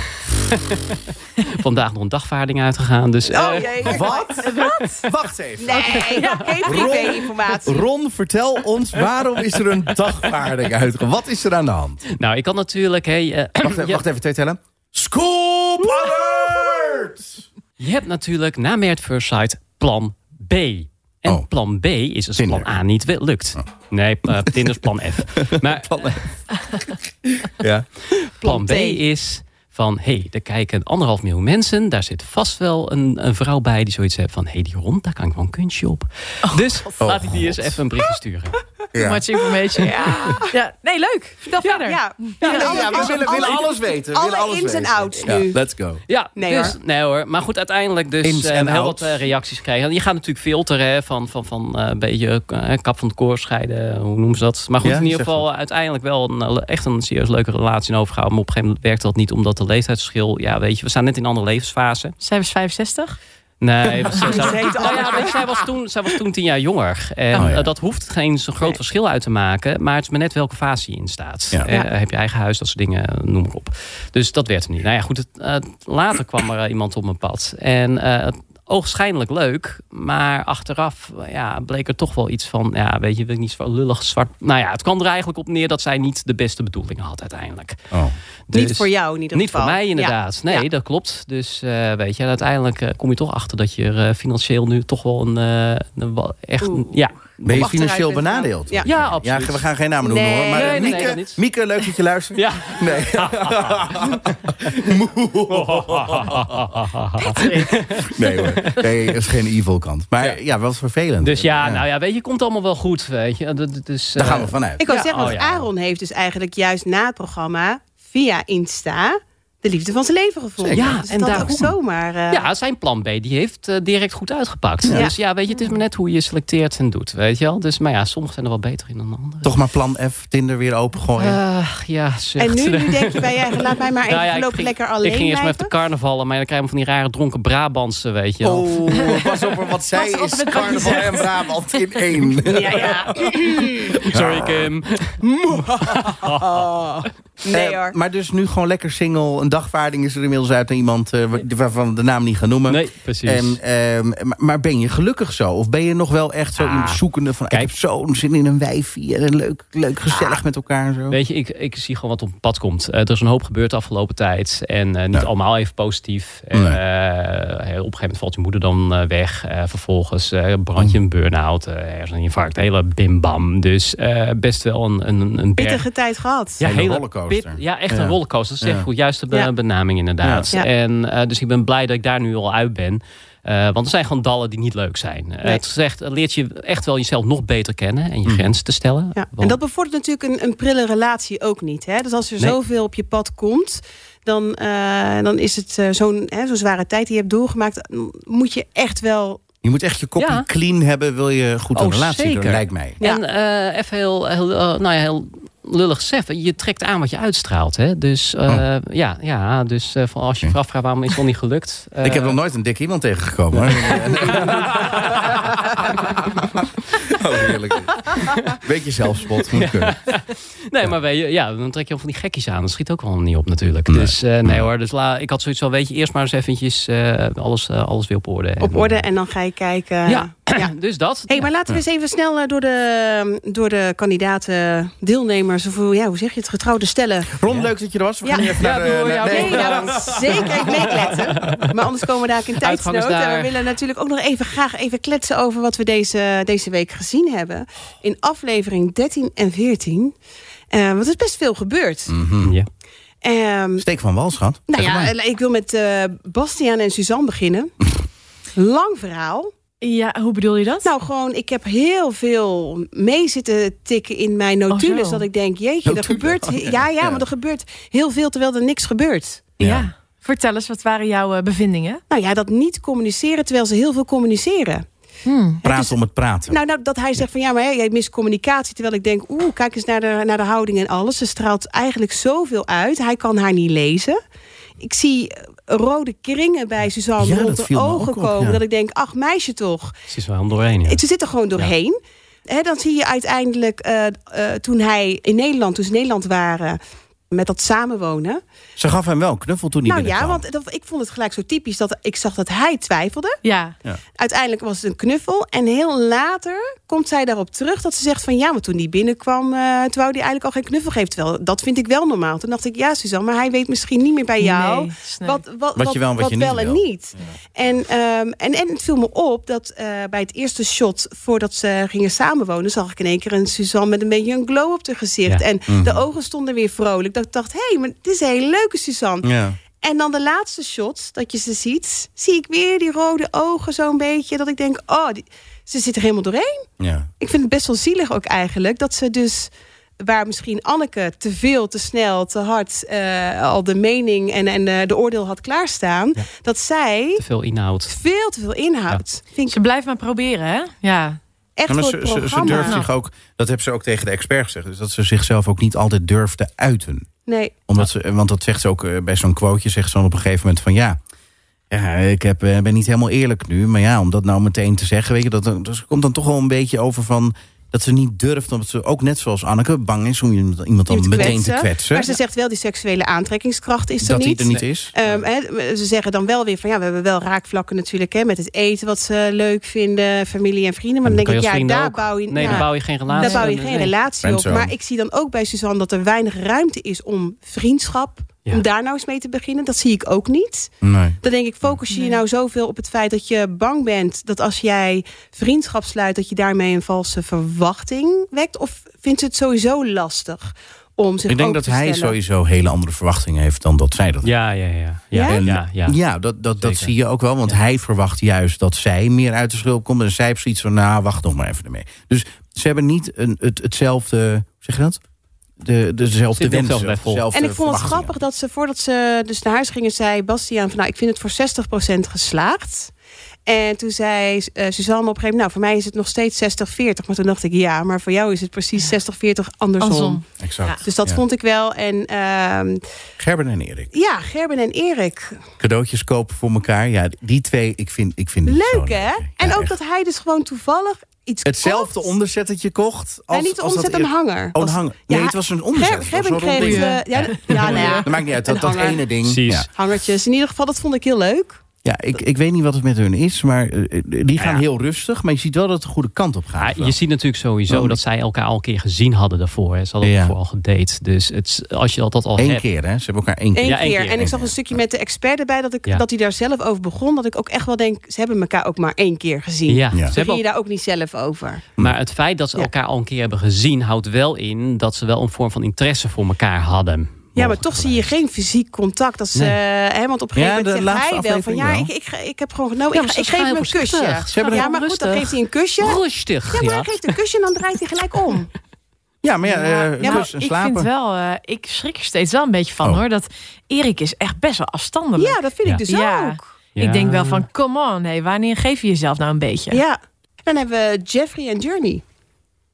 vandaag nog een dagvaarding uitgegaan, dus... eh, Oh jee, wat? Wat? Wacht even. Nee, geen privé-informatie. Ron, vertel ons waarom is er een dagvaarding uitgegaan? Wat is er aan de hand? Nou, ik kan natuurlijk... Hey, eh, Wacht, even, je, wacht even, twee tellen. Scoop alert! je hebt natuurlijk na Merit First Sight plan B. En Oh. plan B is als Tinder. plan A niet wel- lukt. Nee, eh, Tinder is plan F. Maar Ja. Plan Plan B B. is van, hé, hey, er kijken anderhalf miljoen mensen. Daar zit vast wel een, een vrouw bij die zoiets heeft van... hé, hey, die rond, daar kan ik wel een kunstje op. dus laat ik die eens even een berichtje sturen. Too much information. Ja. Nee, leuk. Vertel verder. Ja, Ja, we willen, willen alles weten. we alle willen alles ins en weten. outs Ja, nu. let's go. Ja, Nee, dus, hoor. nee hoor. Maar goed, uiteindelijk dus Ins eh, en heel outs. wat eh, reacties krijgen. Je gaat natuurlijk filteren hè, van, van, van eh, een beetje eh, kap van het koor scheiden. Hoe noemen ze dat? Maar goed, Ja, in ieder zeg geval uiteindelijk wel een, eh, echt een serieus leuke relatie in overgehouden. Maar op een gegeven moment werkt dat niet, omdat de leeftijdsverschil... Ja, weet je, we staan net in een andere levensfase. Zij was 65. Nee, ze- ze- Ze heet nou ja, allemaal. weet je, zij, was toen, zij was toen tien jaar jonger. En Oh, ja. eh, dat hoeft geen zo groot Nee. verschil uit te maken. Maar het is maar net welke fase je in staat. Ja. Eh, Ja. heb je eigen huis, dat soort dingen, eh, noem maar op. Dus dat werd er niet. Nou ja, goed. Het, eh, later kwam er eh, iemand op mijn pad. En eh, het oogschijnlijk leuk. Maar achteraf eh, ja, bleek er toch wel iets van... Ja, weet je, wil ik niet zo lullig zwart... Nou ja, het kwam er eigenlijk op neer dat zij niet de beste bedoelingen had uiteindelijk. Oh. Niet Dus- voor jou in ieder niet geval. voor mij inderdaad. Ja. Nee, Ja. dat klopt. Dus eh, weet je, en uiteindelijk eh, kom je toch achter dat je er eh, financieel nu toch wel een, eh, een wa- echt een- ja. Ben je Achteruit financieel bent gegaan. benadeeld? Ja. Ja, absoluut. Ja, we gaan geen namen noemen Nee. hoor. Maar eh, Nee, nee, nee, Mieke, dat niet. Mieke, leuk dat je luistert. Ja. Nee. nee hoor. Nee, dat is geen evil kant. Maar ja, wel vervelend. Dus ja, nou ja, weet je, het komt allemaal wel goed, weet je. Dat- dat- Dus, Daar eh, gaan we vanuit. Ik wou Ja, zeggen, oh want ja. Aaron heeft dus eigenlijk juist na het programma via Insta de liefde van zijn leven gevonden. Zeker. Ja, dus en dat daarom- ook zomaar. eh, Ja, zijn plan B, die heeft eh, direct goed uitgepakt. Ja. Dus ja, weet je, het is maar net hoe je selecteert en doet, weet je wel. Dus, maar ja, sommigen zijn er wel beter in dan anderen. Toch maar plan F, Tinder weer opengooien. Ah, ja, zucht. En nu, Nou nu denk je bij je eigen, laat mij maar even Nou ja, ik voorlopig ging- lekker alleen Ik ging eerst maar even blijven. de carnavallen, maar dan krijgen we van die rare dronken Brabantse, weet je wel. Oh, pas op wat zij is. op met wat je Carnaval en Brabant in één. Ja, ja. Sorry, Kim. Nee Eh, hoor. maar dus nu gewoon lekker single. Een dagvaarding is er inmiddels uit aan iemand eh, wa- waarvan we de naam niet gaan noemen. Nee, precies. En, ehm, maar- maar ben je gelukkig zo? Of ben je nog wel echt zo Ah, iemand zoekende van... kijk. Ah. ik heb zo'n zin in een wijfie en een leuk, leuk gezellig met elkaar en zo? Weet je, ik, ik zie gewoon wat op mijn pad komt. Eh, er is een hoop gebeurd de afgelopen tijd. En eh, niet allemaal even positief. En, Nee. eh, op een gegeven moment valt je moeder dan eh, weg. Eh, vervolgens eh brand Oh. je een burn-out. eh, er is een infarct. Hele bim-bam. Dus eh, best wel een, een, een berg. Pittige tijd gehad. Ja, Hele hele rollercoaster. pit- ja, echt Ja. een rollercoaster. Dat is echt Ja. goed. Juiste be- Ja. benaming inderdaad. Ja. Ja. En, eh, dus ik ben blij dat ik daar nu al uit ben. Eh, want er zijn gewoon dallen die niet leuk zijn. Eh, Nee. het, is echt, het leert je echt wel jezelf nog beter kennen. Mm. En je grenzen te stellen. Ja. En Want- dat bevordert natuurlijk een, een prille relatie ook niet. Hè? Dus als er Nee. zoveel op je pad komt, dan, eh, dan is het eh, zo'n hè, zo'n zware tijd die je hebt doorgemaakt, m- moet je echt wel. Je moet echt je kopje Ja. clean hebben... wil je goed een Oh, relatie doen, zeker. lijkt mij. Ja. En eh, even heel, heel, eh, nou ja, heel lullig gezegd. Je trekt aan wat je uitstraalt. Hè? Dus eh, ja, ja, dus eh, van als je je afvraagt waarom is het nog niet gelukt. eh, ik heb nog nooit een dik iemand tegengekomen. hoor. oh, heerlijk. Beetje zelfspot. Moet kunnen. Nee, maar weet je, ja, dan trek je al van die gekkies aan. Dat schiet ook wel niet op natuurlijk. Dus eh, nee hoor, dus la, ik had zoiets van, weet je, eerst maar eens eventjes eh, alles, eh, alles weer op orde. En, Op orde en dan ga je kijken. Ja, dus dat. Hey, maar laten we eens even snel eh, door de, door de kandidaten, deelnemers, of hoe, ja, hoe zeg je het, getrouwde stellen. Ron, leuk dat je er was. We gaan Ja. nu even Ja, naar de... naar- doei, ja, Nee, nou, zeker even meekletsen. Maar anders komen we daar in Uitgang is tijdsnood. En daar. we willen natuurlijk ook nog even graag even kletsen over wat we deze, deze week gezien gezien hebben in aflevering 13 en 14. Eh, want er is best veel gebeurd. Hm, Ja. Ehm, Steek van wal, schat. nou Mm. Zeg ja, maar. ik wil met eh Bastiaan en Suzanne beginnen. Lang verhaal. Ja, hoe bedoel je dat? Nou, gewoon, ik heb heel veel mee zitten tikken in mijn notules. Oh, zo. dat ik denk, jeetje, er Notulen, gebeurt. oh, ja, ja, ja, ja. want er gebeurt heel veel terwijl er niks gebeurt. ja. ja. Vertel eens, wat waren jouw eh, bevindingen? Nou ja, dat niet communiceren terwijl ze heel veel communiceren. Praten om het praten. Nou, nou, dat hij zegt van ja, maar hè, jij mist communicatie. Terwijl ik denk, oeh, kijk eens naar de, naar de houding en alles. Ze straalt eigenlijk zoveel uit. Hij kan haar niet lezen. Ik zie eh, rode kringen bij Suzanne Ja, dat rond de viel me ook ogen op, komen. ja. Dat ik denk, ach meisje toch. Ze is wel om doorheen. Ja. Het- Ze zit er gewoon doorheen. Hè, dan zie je uiteindelijk, eh, eh, toen hij in Nederland, toen ze in Nederland waren, met dat samenwonen. Ze gaf hem wel een knuffel toen hij nou ja, binnenkwam. want dat, ik vond het gelijk zo typisch dat ik zag dat hij twijfelde. Ja. Uiteindelijk was het een knuffel. En heel later komt zij daarop terug dat ze zegt van ja, maar toen die binnenkwam, eh, toen wou die eigenlijk al geen knuffel geven. Terwijl dat vind ik wel normaal. Toen dacht ik, ja, Suzanne, maar hij weet misschien niet meer bij jou. Nee, sneu. Wat, wat, Wat je wel en wat je niet en wil. niet. En, ehm, en, en het viel me op dat eh, bij het eerste shot voordat ze gingen samenwonen, zag ik in één keer een Suzanne met een beetje een glow op haar gezicht. Ja. En Mhm. de ogen stonden weer vrolijk. Dat ik dacht, hé, hey, maar dit is een hele leuke Suzanne. Ja. En dan de laatste shot dat je ze ziet, zie ik weer die rode ogen zo'n beetje. Dat ik denk, oh, die- ze zit er helemaal doorheen. Ja. Ik vind het best wel zielig ook eigenlijk dat ze dus. Waar misschien Anneke te veel, te snel, te hard eh, al de mening en, en eh, de oordeel had klaarstaan. Dat zij Te veel inhoud. veel te veel inhoudt. Vind ik Ze blijft maar proberen, hè? Ja. echt Ja, maar voor ze, het ze, ze programma. Nou. durft zich ook, dat hebben ze ook tegen de expert gezegd, dus dat ze zichzelf ook niet altijd durft te uiten. Nee, Omdat ze, want dat zegt ze ook eh, bij zo'n quoteje, zegt ze dan op een gegeven moment van ja, ja ik heb, eh, ben niet helemaal eerlijk nu. Maar ja, om dat nou meteen te zeggen, weet je, dat, dat dus komt dan toch wel een beetje over van dat ze niet durft. Omdat ze ook net zoals Anneke bang is om iemand iemand dan iemand meteen te kwetsen. Maar ze zegt wel die seksuele aantrekkingskracht is er dat niet. die er niet is. Ehm, hè, ze zeggen dan wel weer van ja, we hebben wel raakvlakken natuurlijk hè, met het eten wat ze leuk vinden, familie en vrienden. Maar dan denk Kan ik, je als ja, vrienden daar ook- bouw je, Nee, ja, daar bouw je geen relatie. daar bouw je aan. geen Nee. relatie op. Friendzone. Maar ik zie dan ook bij Suzanne dat er weinig ruimte is om vriendschap, Ja. om daar nou eens mee te beginnen. Dat zie ik ook niet. Nee. Dan denk ik, focus je je nou zoveel op het feit dat je bang bent dat als jij vriendschap sluit, dat je daarmee een valse verwachting wekt? Of vindt ze het sowieso lastig om zich Ik denk open dat te hij stellen? sowieso hele andere verwachtingen heeft dan dat zij dat Ja, ja, ja. Ja, Ja? ja, ja. Ja, dat, dat, dat Zeker. zie je ook wel. Want hij verwacht juist dat zij meer uit de schulp komt. En zij heeft zoiets van, nou, wacht nog maar even ermee. Dus ze hebben niet een, het, hetzelfde, hoe zeg je dat? De, dezelfde Zit op hetzelfde wensen. level. dezelfde En ik vond het verwachtingen. grappig dat ze voordat ze dus naar huis gingen, zei Bastiaan van nou, ik vind het voor 60% geslaagd. En toen zei eh, Suzanne op een gegeven moment, nou voor mij is het nog steeds 60-40. Maar toen dacht ik, ja, maar voor jou is het precies 60-40 andersom. Andersom. Exact. Dus dat Ja. vond ik wel. En ehm, Gerben en Erik. ja, Gerben en Erik, Cadeautjes kopen voor elkaar. Ja, die twee, ik vind, ik vind die zo leuk hè? en Ja, ook echt. dat hij dus gewoon toevallig iets Hetzelfde kocht. onderzettetje kocht. Als, nee, niet de als dat omzet, een eer- hanger. Oh, een Was- hanger. Ja, nee, het was een omzet. Ger- Het was Gerben wel een kreeg... ding. ding. eh, ja, d- ja, nou ja. Dat maakt niet uit, Een dat, dat hanger. ene ding. Precies. Ja. Hangertjes, in ieder geval, dat vond ik heel leuk. Ja, ik, ik weet niet wat het met hun is, maar eh, eh, die gaan Nou Ja. heel rustig. Maar je ziet wel dat het de goede kant op Ja, gaat. je ziet natuurlijk sowieso Oh. dat zij elkaar al een keer gezien hadden daarvoor. Hè. Ze hadden Ja. daarvoor al gedate. Dus het, als je dat, dat al Eén hebt. keer, hè? Ze hebben elkaar één keer. Eén Ja, één keer. keer. En ik Eén zag een stukje met de expert erbij dat, ik, Ja. dat hij daar zelf over begon. Dat ik ook echt wel denk, ze hebben elkaar ook maar één keer gezien. Ja. Ja. Ze Ze hebben ging je al- daar ook niet zelf over. maar het feit dat ze Ja. elkaar al een keer hebben gezien, houdt wel in dat ze wel een vorm van interesse voor elkaar hadden. Ja, maar toch zie je geen fysiek contact. Als, ze hè, want op een gegeven Ja, de moment zegt laatste hij wel van... aflevering Ja, wel. ik, ik, ge- ik heb gewoon genomen. Ja, ik, maar ge- ik ze geef gaan hem een heel kusje. voorzichtig. Ze hebben ja, hem maar goed, dan rustig. geeft hij een kusje. Rustig. Ja, maar ja. hij geeft een kusje en dan draait hij gelijk om. Ja, maar ja, eh, Ja, Nou, kus en ik slapen. vind wel, eh, ik schrik er steeds wel een beetje van Oh. hoor. Dat Erik is echt best wel afstandelijk. Ja, dat vind ik Ja. dus Ja. ook. Ja. Ik denk wel van, come on, hey, wanneer geef je jezelf nou een beetje? Ja. Dan hebben we Jeffrey en Journey.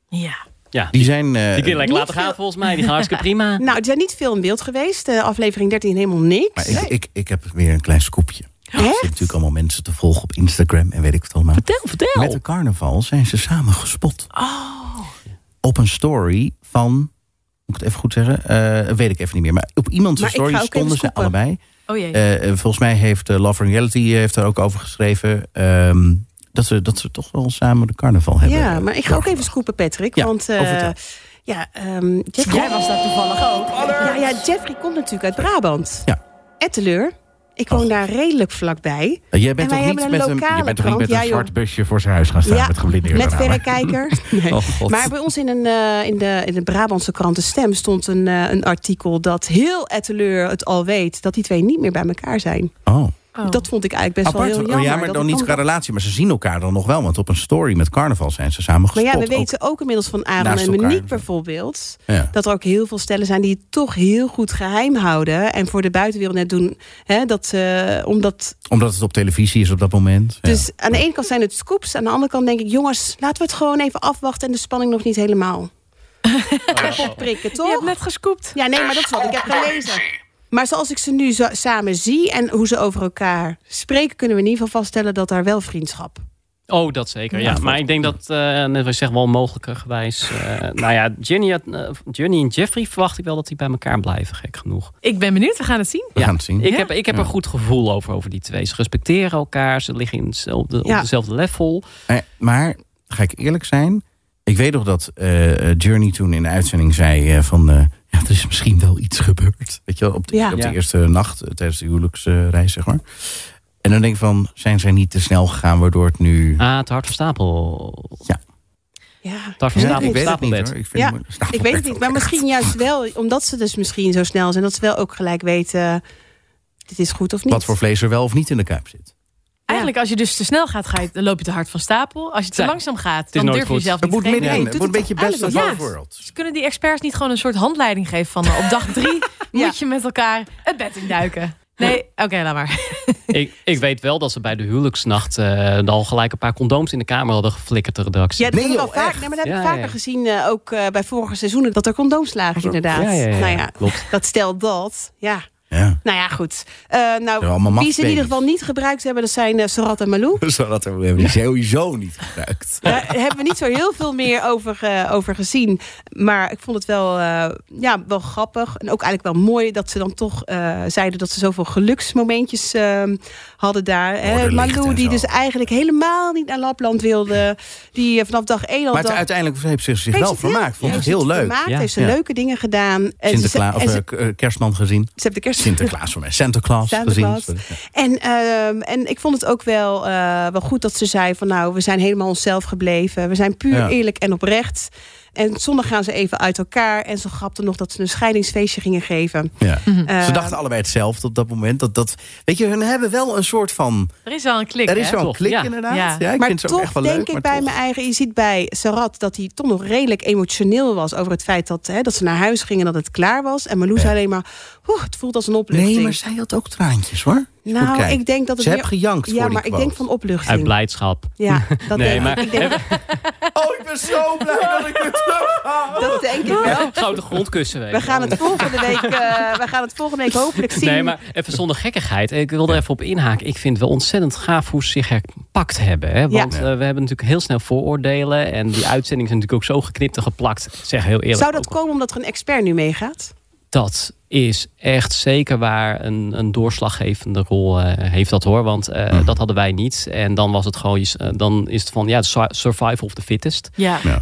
Ja. Ja, Die zijn... eh, die kun je lekker niet laten gaan veel- volgens mij. Die gaan hartstikke prima. Nou, die zijn niet veel in beeld geweest. Eh, aflevering 13 helemaal niks. maar ik, eh, ik, ik heb weer een klein scoopje. Er Echt? zitten natuurlijk allemaal mensen te volgen op Instagram en weet ik het allemaal. Vertel, vertel. Met de carnaval zijn ze samen gespot. Oh. Op een story van... Moet ik het even goed zeggen? Eh, weet ik even niet meer. Maar op iemands Maar ik ga story ook even stonden ze scoepen. allebei. Oh jee. Eh, eh, volgens mij heeft eh, Love Reality heeft daar ook over geschreven. ehm, dat, ze, dat ze toch wel samen de carnaval hebben. eh, Ja, maar ik ga ook even doorgebracht. scoopen, Patrick. Ja, want eh, oh, vertel. ja, ehm, Jeffrey, Jij was daar toevallig ook. ja, ja, Jeffrey komt natuurlijk uit Brabant. Ja. Oh. Etteleur. Ik woon daar redelijk vlakbij. Eh, Jij En bent wij toch niet hebben een met een, je lokale bent toch niet krant? met een Ja, joh. zwart busje voor zijn huis gaan staan met geblindeerde met ramen? verrekijker. Nee. Oh, God. maar bij ons in, een, eh, in, de, in de Brabantse krant De Stem stond een, eh, een artikel dat heel Etteleur het al weet dat die twee niet meer bij elkaar zijn. Oh. Oh. Dat vond ik eigenlijk best Apart. wel heel oh, jammer. ja, maar dat dan het niet qua allemaal- relatie. Maar ze zien elkaar dan nog wel. Want op een story met carnaval zijn ze samen Maar gespot. ja, we ook. weten ook inmiddels van Aaron naast en elkaar. Monique bijvoorbeeld... Ja. dat er ook heel veel stellen zijn die het toch heel goed geheim houden... en voor de buitenwereld net doen. Hè, dat, eh, omdat, Omdat het op televisie is op dat moment. Ja. Dus aan de ene kant zijn het scoops... aan de andere kant denk ik, jongens, laten we het gewoon even afwachten... en de spanning nog niet helemaal. Even prikken, toch? Je hebt net gescoopt. Ja, nee, maar dat is wat ik heb gelezen. Maar zoals ik ze nu zo- samen zie en hoe ze over elkaar spreken... kunnen we in ieder geval vaststellen dat daar wel vriendschap... Oh, dat zeker. Ja. Maar ik denk dat, eh, net wat je zegt, wel mogelijkerwijs. eh nou ja, Jenny, had- eh, Jenny en Jeffrey verwacht ik wel dat die bij elkaar blijven, gek genoeg. Ik ben benieuwd, we gaan het zien. We gaan het zien. Ik Ja. heb, ik heb een goed gevoel over, over die twee. Ze respecteren elkaar, ze liggen in hetzelfde, op Ja. dezelfde level. Eh, maar ga ik eerlijk zijn. Ik weet nog dat eh, eh, Journey toen in de uitzending zei eh, van... eh, ja, er is misschien wel iets gebeurd. Weet je wel, op de, Ja. op de Ja. eerste nacht eh, tijdens de huwelijksreis, zeg maar. En dan denk ik van, zijn zij niet te snel gegaan waardoor het nu... Ah, het hart van stapel. Ja, Het hart van Ja, stapel. ik weet het niet stapelbed. hoor. Ik, vind Ja, het moeilijk. ik weet het niet. Maar misschien juist wel, omdat ze dus misschien zo snel zijn... dat ze wel ook gelijk weten, eh, dit is goed of niet. Wat voor vlees er wel of niet in de kuip zit. Eigenlijk, als je dus te snel gaat, ga je, dan loop je te hard van stapel. Als je te Ja. langzaam gaat, is dan nooit durf je goed. jezelf Het niet moet te middenin. geven. Nee, het doet wordt een het beetje toch best of eigenlijk both wel? Ja. worlds. Dus kunnen die experts niet gewoon een soort handleiding geven van... eh, op dag drie Ja. moet je met elkaar het bed induiken. Nee, oké, laat maar. Ik, ik weet wel dat ze bij de huwelijksnacht eh, al gelijk een paar condooms in de kamer hadden geflikkerd, de redactie. Ja, dat, Nee, hebben we joh, wel vaak, echt? nee, maar dat heb ik Ja, vaker ja. gezien, eh, ook eh, bij vorige seizoenen... dat er condooms lagen, inderdaad. Ja, ja, ja, Nou ja, klopt. dat stelt dat, ja. Ja. Nou ja, goed. Eh, zijn nou, allemaal wie ze in ieder machtsbabies. geval niet gebruikt hebben... dat zijn eh, Sarat en Malou. Zodat we hebben die sowieso niet gebruikt. Daar hebben we niet zo heel veel meer over, eh, over gezien. Maar ik vond het wel, eh, ja, wel grappig. En ook eigenlijk wel mooi dat ze dan toch eh, zeiden dat ze zoveel geluksmomentjes eh, hadden daar. hè. Borderlicht Malou, en die zo. dus eigenlijk helemaal niet naar Lapland wilde. Die eh, vanaf dag één al Maar het- dacht, uiteindelijk heeft ze zich heeft wel ze het heel- vermaakt. Vond ik heeft ze heel het leuk. Gemaakt, Ja. Heeft ze Ja. leuke dingen gedaan. En ze- Sinterklaas, en of ze, eh, k- kerstman gezien. ze hebben de kerst. Sinterklaas voor mij. Sinterklaas, Sinterklaas. gezien. Sorry. En, ehm, en ik vond het ook wel, eh, wel goed dat ze zei van nou, we zijn helemaal onszelf gebleven. We zijn puur Ja. eerlijk en oprecht. En zondag gaan ze even uit elkaar. En ze grapte nog dat ze een scheidingsfeestje gingen geven. Ja. Eh, Ze dachten allebei hetzelfde op dat moment. Dat, dat, weet je, hun hebben wel een soort van... Er is wel een klik, Er is hè? zo'n toch? klik Ja. inderdaad. Ja. Ja. ik maar vind ze toch ook echt wel denk leuk. ik maar bij toch. mijn eigen... Je ziet bij Sarat dat hij toch nog redelijk emotioneel was... over het feit dat, hè, dat ze naar huis gingen en dat het klaar was. En Marloes alleen maar... "Oeh, het voelt als een opluchting. Nee, maar zij had ook traantjes hoor. Als je goed nou, kijkt. ik denk dat het Ze meer- heeft gejankt Ja, voor die maar ik quote. denk van opluchting. Uit blijdschap. Ja, dat denk Nee, ik. maar- ik. Denk, Oh, ik ben zo blij dat ik het terug had. dat denk ik wel. Gouden grondkussen. weet We je gaan wel. het volgende week, eh, we gaan het volgende week hopelijk zien. Nee, maar even zonder gekkigheid. Ik wil er even op inhaken. Ik vind het wel ontzettend gaaf hoe ze zich herpakt hebben. Hè? Want Ja. eh, we hebben natuurlijk heel snel vooroordelen. En die uitzendingen zijn natuurlijk ook zo geknipt en geplakt. Ik zeg heel eerlijk. Zou dat ook- komen omdat er een expert nu meegaat? dat is echt zeker waar een, een doorslaggevende rol eh, heeft dat hoor. Want eh, dat hadden wij niet. En dan was het gewoon, je s- eh, dan is het van ja, su- survival of the fittest. Ja. Ja.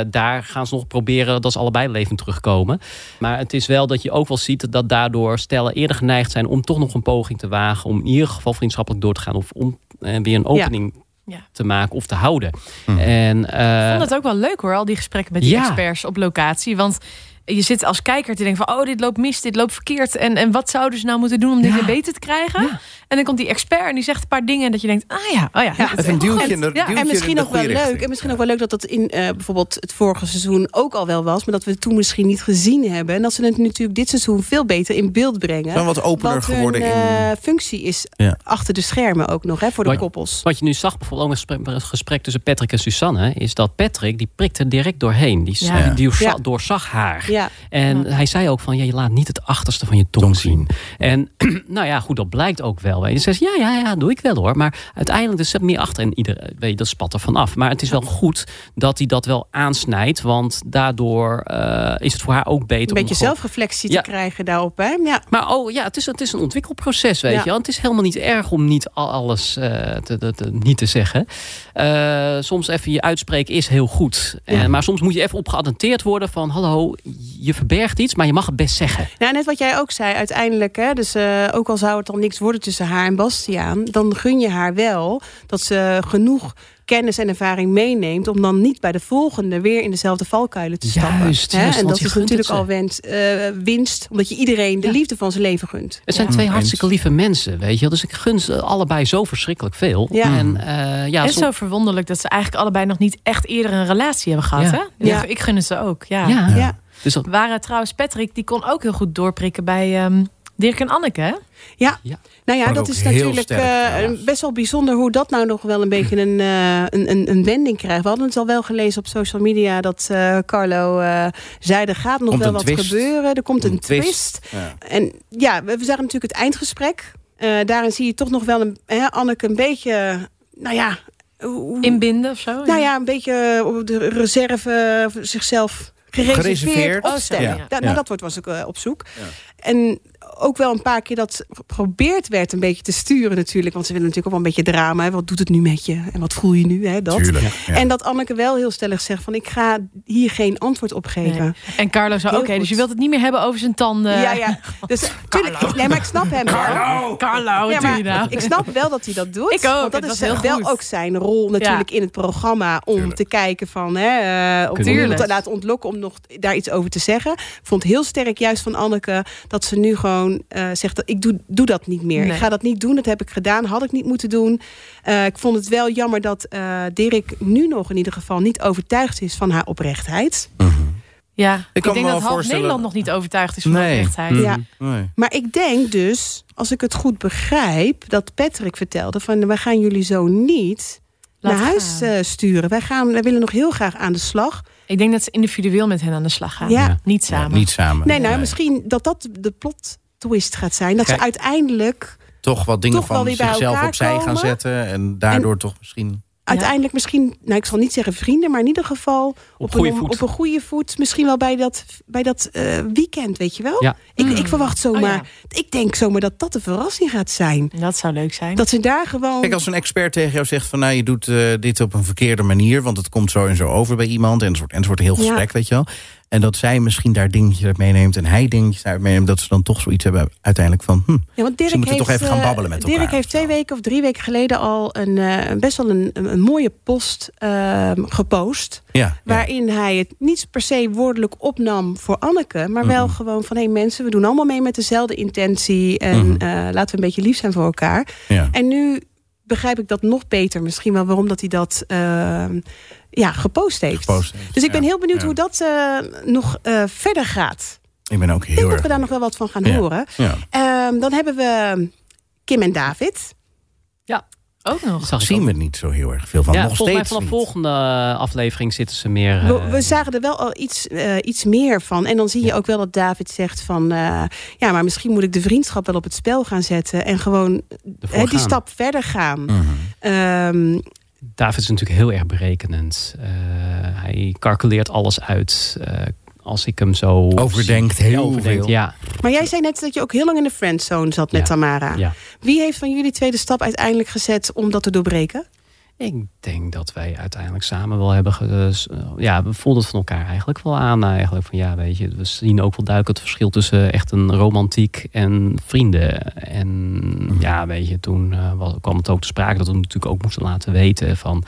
Eh, daar gaan ze nog proberen dat ze allebei levend terugkomen. Maar het is wel dat je ook wel ziet dat daardoor stellen eerder geneigd zijn om toch nog een poging te wagen. Om in ieder geval vriendschappelijk door te gaan. Of om eh, weer een opening Ja. te maken of te houden. En, eh, Ik vond het ook wel leuk hoor, al die gesprekken met die Ja. experts op locatie. Want je zit als kijker te denken van, oh, dit loopt mis, dit loopt verkeerd. En, en wat zouden ze nou moeten doen om dit weer beter te krijgen? En dan komt die expert en die zegt een paar dingen en dat je denkt, ah ja, oh ja. dat is Even een echt duwtje goed. in de Ja, duwtje en in misschien de ook wel goede richting. leuk. En misschien ook wel leuk dat dat in eh, bijvoorbeeld het vorige seizoen ook al wel was. Maar dat we het toen misschien niet gezien hebben. En dat ze het natuurlijk dit seizoen veel beter in beeld brengen. Ze zijn wat opener wat hun geworden in... eh, functie is Ja. achter de schermen ook nog, hè, voor de Wat- koppels. Wat je nu zag bijvoorbeeld ook in het gesprek, gesprek tussen Patrick en Susanne... is dat Patrick, die prikt er direct doorheen. Die, Ja. die doorzag, Ja. doorzag haar. Ja. En hij zei ook van, ja, je laat niet het achterste van je tong, Tong zien. zien. En nou ja, goed, dat blijkt ook wel. En ze zegt, ja, ja, ja, doe ik wel hoor. Maar uiteindelijk er zit meer achter. En ieder, weet je, dat spat er vanaf. Maar het is wel goed dat hij dat wel aansnijdt. Want daardoor eh, is het voor haar ook beter Een beetje om gewoon- zelfreflectie Ja. te krijgen daarop. Hè? Ja. maar oh ja, het is, het is een ontwikkelproces, weet Ja. je wel. Het is helemaal niet erg om niet al- alles eh, te, te- te- niet te zeggen. Eh, soms even je uitspreken is heel goed. En, Maar soms moet je even op geattenteerd worden van... hallo, je verbergt iets, maar je mag het best zeggen. Nou, net wat jij ook zei, uiteindelijk, hè, dus eh, ook al zou het dan niks worden tussen haar en Bastiaan, dan gun je haar wel dat ze genoeg kennis en ervaring meeneemt om dan niet bij de volgende weer in dezelfde valkuilen te stappen. Juist, hè? juist, en want dat je is gunt natuurlijk het ze. al wens- eh, winst, omdat je iedereen de Ja. liefde van zijn leven gunt. Het zijn twee hartstikke lieve mensen, weet je. wel. Dus ik gun ze allebei zo verschrikkelijk veel. Ja. En, eh, ja, en som- zo verwonderlijk dat ze eigenlijk allebei nog niet echt eerder een relatie hebben gehad. Ja. Hè? Dus Ja. Ik gun het ze ook. Ja. ja. Ja. Dus dat, Waren trouwens Patrick, die kon ook heel goed doorprikken bij ehm, Dirk en Anneke. Hè? Ja. Ja. nou ja, Maar dat ook is heel natuurlijk sterk, eh, trouwens. best wel bijzonder hoe dat nou nog wel een beetje een, eh, een, een, een wending krijgt. We hadden het al wel gelezen op social media dat eh, Carlo eh, zei: er gaat nog Komt wel een wat twist. gebeuren, er komt een, twist. Ja. En ja, we, we zagen natuurlijk het eindgesprek. Eh, daarin zie je toch nog wel een, hè, Anneke een beetje, nou ja, hoe- hoe- Inbinden of zo. nou ja, een beetje op de reserve eh, zichzelf gereserveerd, Gereserveerd. opstellen. Oh, zo, ja. Da- nou, Ja. dat wordt was ik eh, op zoek. En ook wel een paar keer dat geprobeerd werd een beetje te sturen natuurlijk. Want ze willen natuurlijk ook wel een beetje drama. Hè. Wat doet het nu met je? En wat voel je nu? Hè, dat. Tuurlijk. ja. En dat Anneke wel heel stellig zegt van ik ga hier geen antwoord op Nee. geven. En Carlo zei, Heel oké, dus goed. je wilt het niet meer hebben over zijn tanden. Ja, ja. Dus tuurlijk, nee, maar ik snap hem wel. Carlo, wat Ja, doe maar je nou? ik snap wel dat hij dat doet. Ik ook, Want dat het is was heel wel goed. ook zijn rol natuurlijk in het programma. Om te kijken van, hè, eh, om Tuurlijk. iemand te laten ontlokken om nog daar iets over te zeggen. Ik vond heel sterk juist van Anneke dat ze nu gewoon eh, zegt... dat ik doe, doe dat niet meer. Nee. Ik ga dat niet doen, dat heb ik gedaan. Had ik niet moeten doen. Eh, ik vond het wel jammer dat eh Dirk nu nog in ieder geval niet overtuigd is van haar oprechtheid. Ja, me ik, denk wel dat half voorstellen- Nederland nog niet overtuigd is van Nee. de oprechtheid. Ja. Nee. Maar ik denk dus, als ik het goed begrijp, dat Patrick vertelde van we gaan jullie zo niet Laat naar huis gaan. eh, sturen. Wij, gaan, wij willen nog heel graag aan de slag. Ik denk dat ze individueel met hen aan de slag gaan. Ja. Niet samen. Niet samen. Nee, nou, misschien dat dat de plot twist gaat zijn. Dat Kijk. ze uiteindelijk, Toch wat dingen Toch wel van weer bij zichzelf elkaar opzij gaan komen. zetten. En daardoor toch misschien... uiteindelijk misschien, nou ik zal niet zeggen vrienden, maar in ieder geval op, goede een, voet. op een goede voet. Misschien wel bij dat, bij dat eh, weekend, weet je wel? Ja. Ik, ik verwacht zomaar, Oh, ik denk zomaar dat dat de verrassing gaat zijn. Dat zou leuk zijn. Dat ze daar gewoon... Kijk, als een expert tegen jou zegt van... nou, je doet eh, dit op een verkeerde manier... want het komt zo en zo over bij iemand... en het wordt, en het wordt een heel Ja. gesprek, weet je wel. En dat zij misschien daar dingetjes uit meeneemt... en hij dingetjes uit meeneemt... dat ze dan toch zoiets hebben uiteindelijk van... Hm, Ja, want Dirk Ze moeten heeft, toch even gaan eh, babbelen met elkaar Dirk of heeft zo. twee weken of drie weken geleden al een, eh, een best wel een, een, een mooie post ehm, gepost. ja, ja. Waarin hij het niet per se woordelijk opnam voor Anneke. Maar wel gewoon van, hé mensen, we doen allemaal mee met dezelfde intentie. En Mm-hmm. eh, laten we een beetje lief zijn voor elkaar. ja. En nu begrijp ik dat nog beter misschien wel. Waarom dat hij dat ehm, ja, gepost heeft. Gepost heeft, Dus ik ben ja, heel benieuwd ja. hoe dat eh, nog eh, verder gaat. Ik ben ook Ik heel denk dat we erg... daar nog wel wat van gaan Ja. horen. Ja. Ehm, dan hebben we Kim en David. ja. Ook nog. Zag ik Zien ook. we niet zo heel erg veel van. Ja, Nog volgens mij steeds vanaf niet. volgende eh, aflevering zitten ze meer... eh, We, we zagen er wel al iets, eh, iets meer van. En dan zie je ook wel dat David zegt van... eh, ja, maar misschien moet ik de vriendschap wel op het spel gaan zetten. En gewoon ervoor hè, die gaan. stap verder gaan. Mhm. Ehm, David is natuurlijk heel erg berekenend. Eh, hij calculeert alles uit. Eh, als ik hem zo... Overdenkt zie- heel overdenkt, veel. Ja, maar jij zei net dat je ook heel lang in de friendzone zat met Ja. Tamara. ja. Wie heeft van jullie tweede stap uiteindelijk gezet om dat te doorbreken? Ik denk dat wij uiteindelijk samen wel hebben... ge- s- eh, ja, we voelden het van elkaar eigenlijk wel aan. Eigenlijk van ja, weet je, we zien ook wel duidelijk het verschil tussen echt een romantiek en vrienden. Mhm. En ja, weet je, toen eh, wa- kwam het ook te sprake dat we hem natuurlijk ook moesten laten weten van...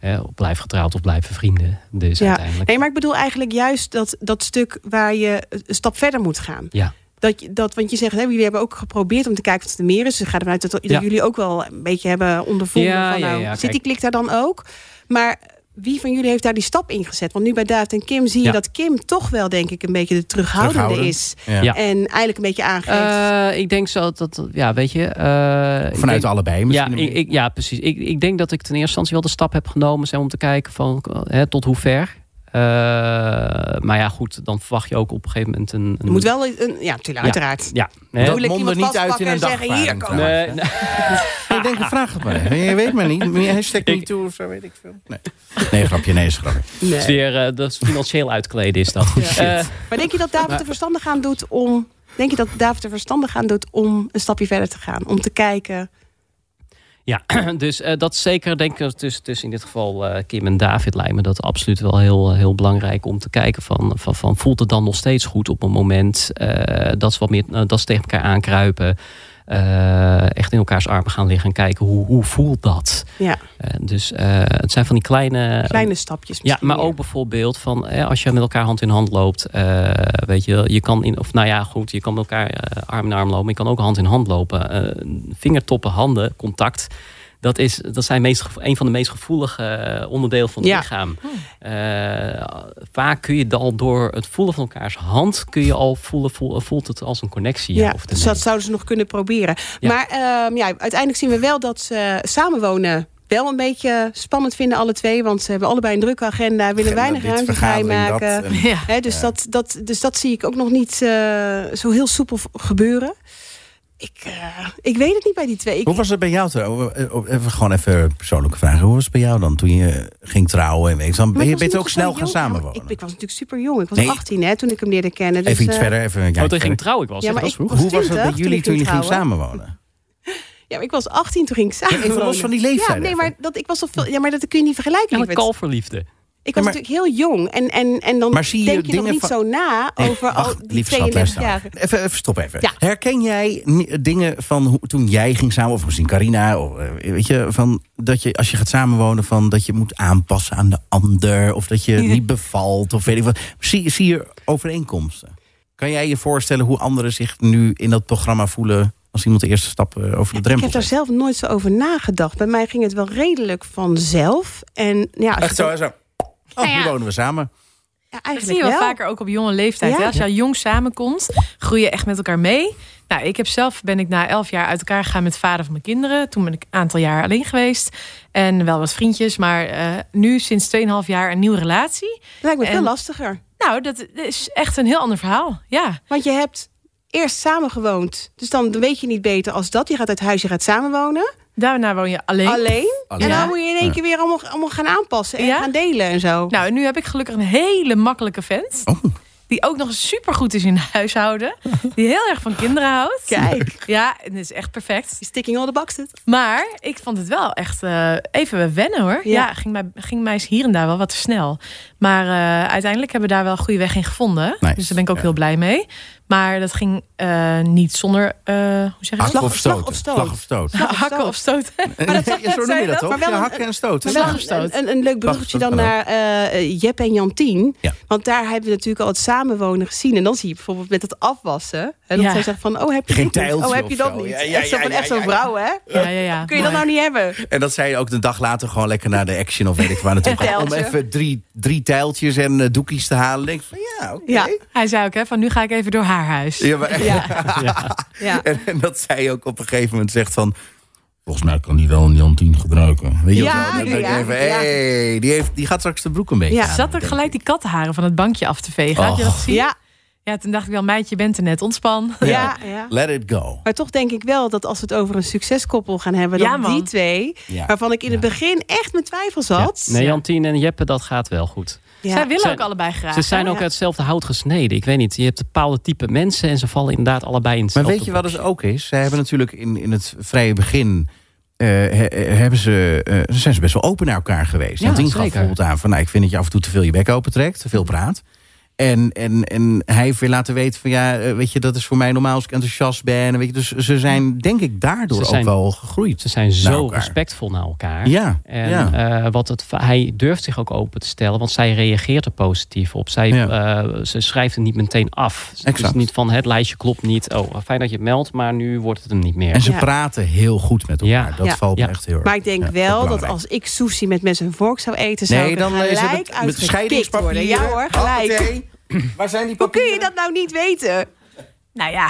eh, blijf getrouwd of blijven vrienden. Dus Ja. uiteindelijk... Nee, maar ik bedoel eigenlijk juist dat, dat stuk waar je een stap verder moet gaan. Ja. Dat, je- dat, want je zegt, hè, jullie hebben ook geprobeerd om te kijken wat er meer is. Dus ik ga ervan uit dat, dat Ja. jullie ook wel een beetje hebben ondervonden. Ja, van, ja, nou, ja, zit die kijk. klik daar dan ook? Maar wie van jullie heeft daar die stap in gezet? Want nu bij David en Kim zie je Ja. dat Kim toch wel, denk ik, een beetje de terughoudende Terughoudend. is. Ja. Ja. En eigenlijk een beetje aangeeft. Eh, ik denk zo dat, dat- ja, weet je. eh, ik Vanuit denk- allebei Ja, misschien. ik, ik- ja, precies. Ik, ik denk dat ik ten eerste instantie wel de stap heb genomen zeg, om te kijken van, hè, tot hoe ver. Eh, maar ja, goed, dan verwacht je ook op een gegeven moment een. een er moet wel een, een- ja, natuurlijk, uiteraard. Ja. hè. dat ik mondde iemand niet uit in vastpakken een en zeggen, dagvaarding. hier, kom. trouwens. Nee, nee. Ik denk, vraag het maar. Je weet maar niet. Hashtag niet toe of zo, weet ik veel. Nee, nee grapje, nee, is grapje. Nee. Dat is weer eh, dat is financieel uitkleden is Oh, dat. Eh, Maar denk je dat David er verstandig aan doet om... Denk je dat David er verstandig aan doet om een stapje verder te gaan? Om te kijken... Ja, dus eh, dat is zeker, denk ik, tussen, tussen in dit geval eh, Kim en David lijkt me dat absoluut wel heel, eh, heel belangrijk om te kijken van, van, van voelt het dan nog steeds goed op een moment eh, dat ze wat meer, eh, dat ze tegen elkaar aankruipen, eh, echt in elkaars armen gaan liggen en kijken hoe, hoe voelt dat. Ja, Eh, dus eh, het zijn van die kleine, kleine stapjes Ehm, ja, misschien maar meer. ook bijvoorbeeld van eh, als je met elkaar hand in hand loopt, eh, weet je, wel, je kan in, of nou ja, goed, je kan met elkaar eh, arm in arm lopen, maar je kan ook hand in hand lopen. Eh, vingertoppen, handen, contact. Dat is dat zijn meest, gevo- een van de meest gevoelige eh, onderdelen van het Ja. Oh. lichaam. Eh, vaak kun je al door het voelen van elkaars hand, kun je al voelen, voel- voelt het als een connectie. ja, Ja, of dus nee. dat zouden ze nog kunnen proberen. Ja. Maar ehm, ja, uiteindelijk zien we wel dat ze samenwonen wel een beetje spannend vinden, alle twee. Want ze hebben allebei een drukke agenda, willen weinig Dit ruimte vergadering, dat, vrijmaken. en- Ja. Hè, dus, dat, dat, dus dat zie ik ook nog niet eh, zo heel soepel v- gebeuren. Ik, eh, ik weet het niet bij die twee. Ik, Hoe was het bij jou trouwens? Eh, oh, Even gewoon even persoonlijke vragen. Hoe was het bij jou dan toen je ging trouwen en weet je, dan maar ben je ik was bent ook natuurlijk snel wel gaan jong. samenwonen? Ik, ik was natuurlijk super jong. Ik was Nee. 18 hè, toen ik hem leerde kennen. Dus, even iets eh, verder, even een Oh, jaartje toen ging ik verder. trouwen, ik was, Ja, ja, maar dat was ik- vroeg. Hoe was het bij 20 jullie toen toen jullie ik gingen ging samenwonen? Ja, maar ik was 18 toen ging ik samen. even los wonen. van die leeftijd Ja, nee, even. maar dat, ik was al veel, ja, maar dat kun je niet vergelijken. En een lieverd. kalverliefde. Ik was Ja, maar- natuurlijk heel jong. En, en, en dan Maar zie je denk je nog dingen niet van- zo na Nee, over al wacht, die lieve schat, 32 luister jaar. nou. Even, even stop even. Ja. Herken jij ni- dingen van hoe, toen jij ging samen, of misschien Carina, of, eh, weet je, van dat je als je gaat samenwonen, van dat je moet aanpassen aan de ander, of dat je niet bevalt, of weet ik wat. Zie, zie je overeenkomsten? Kan jij je voorstellen hoe anderen zich nu in dat programma voelen als iemand de eerste stap eh, over de Ik drempel heb daar zet? zelf nooit zo over nagedacht. Bij mij ging het wel redelijk vanzelf. En ja, als je Echt zo, dan- hè, zo. Nou Oh, ja. nu wonen we samen. ja, Dat zie je eigenlijk wel, wel. vaker ook op jonge leeftijd. Ja. hè? Als je al jong samenkomt, groei je echt met elkaar mee. Nou, ik heb zelf ben ik na elf jaar uit elkaar gegaan met vader van mijn kinderen. Toen ben ik een aantal jaar alleen geweest. En wel wat vriendjes. Maar eh, nu sinds 2,5 jaar een nieuwe relatie. Dat lijkt me veel En- lastiger. Nou, dat is echt een heel ander verhaal. Ja, Want je hebt eerst samengewoond. Dus dan weet je niet beter als dat. Je gaat uit huis, je gaat samenwonen. daarna woon je alleen. Alleen. Alleen. En dan moet je in één keer weer allemaal, allemaal gaan aanpassen. En Ja? gaan delen en zo. Nou, en nu heb ik gelukkig een hele makkelijke vent. Oh. Die ook nog eens supergoed is in huishouden. Die heel erg van kinderen houdt. Kijk. Ja, en dat is echt perfect. Is sticking all the boxes. Maar ik vond het wel echt eh, even wennen hoor. Ja, Ja. ging, mij, ging mij eens hier en daar wel wat te snel. Maar eh, uiteindelijk hebben we daar wel een goede weg in gevonden. Nice. Dus daar ben ik ook Ja. heel blij mee. Maar dat ging eh, niet zonder, eh, hoe zeg je dat? Slag- of slag stoten. of stoot. Slag of stoot. Hakken of stoten. Maar dat ja, zo noem je zei dat dat, toch? maar wel Ja, een- hakken en stoten. Maar wel Slag of stoot. een, een, een leuk bruggetje Slag dan of stoot, naar eh Jep en Jantien. Ja. Want daar hebben we natuurlijk al het samenwonen gezien. En dan zie je bijvoorbeeld met het afwassen. Hè, dat Ja. zij zegt van, oh heb je Geen dit niet? tijltje Oh heb je of dat zo. niet? Ja, ja, echt zo ja, van, ja, echt zo'n ja, ja. vrouw hè? Ja, ja, ja. Kun je dat Maar- nou niet hebben? En dat zij ook de dag later gewoon lekker naar de action of weet ik waar naartoe Een gaat. Om tijltje. even drie, drie tijltjes en eh, doekjes te halen. Denk ik van ja, oké. Ja. Hij zei ook hè, van nu ga ik even door haar huis. Ja, maar- Ja. ja. en, en dat zij ook op een gegeven moment zegt van... Volgens mij kan die wel een Jan 10 gebruiken. Weet je Ja, wel? Dan denk ik ja, even, ja. hey, die, heeft, die gaat straks de broek een beetje Ja. aan, Zat ook denk gelijk ik. die kattenharen van het bankje af te vegen. Had je Och. dat gezien? Ja, Ja, toen dacht ik wel, meidje, je bent er net. Ontspan. ja, ja. Let it go. Maar toch denk ik wel dat als we het over een succeskoppel gaan hebben... Ja, dan man. die twee, Ja. waarvan ik in het begin echt mijn twijfels had. Ja. Nee, Jantine en Jeppe, dat gaat wel goed. Ja. Zij willen Ze- ook allebei graag. Ze zijn ja. ook uit hetzelfde hout gesneden. Ik weet niet, je hebt bepaalde type mensen en ze vallen inderdaad allebei in Maar hetzelfde. weet je wat boekje. het ook is? Ze hebben natuurlijk in, in het vrije begin... eh, he- he- hebben ze, eh, zijn ze best wel open naar elkaar geweest. Ja, Ja, gaf zeker. bijvoorbeeld aan van... Nou, ik vind dat je af en toe te veel je bek open trekt. Te veel praat. En, en, en hij heeft weer laten weten van... Ja, eh, weet je, dat is voor mij normaal als ik enthousiast ben. En Weet je, dus ze zijn denk ik daardoor Ze zijn- ook wel gegroeid. Ze zijn naar zo elkaar. respectvol naar elkaar. Ja, En ja. eh, wat het, hij durft zich ook open te stellen, want zij reageert er positief op. Zij, Ja. eh, ze schrijft het niet meteen af. Het is Exact. niet van het lijstje klopt niet. Oh, fijn dat je het meldt, maar nu wordt het hem niet meer. En ze Ja. praten heel goed met elkaar. Ja. Dat Ja. valt me Ja. echt heel erg. Maar ik denk ja, wel dat belangrijk. als ik sushi met mes en vork zou eten... zou Nee, ik er dan eh, is het gelijk met- met uitgekikt worden. scheidingspapieren. Ja hoor, gelijk. Hoppatee. Waar zijn die Hoe kun je papieren? dat nou niet weten? Nou ja,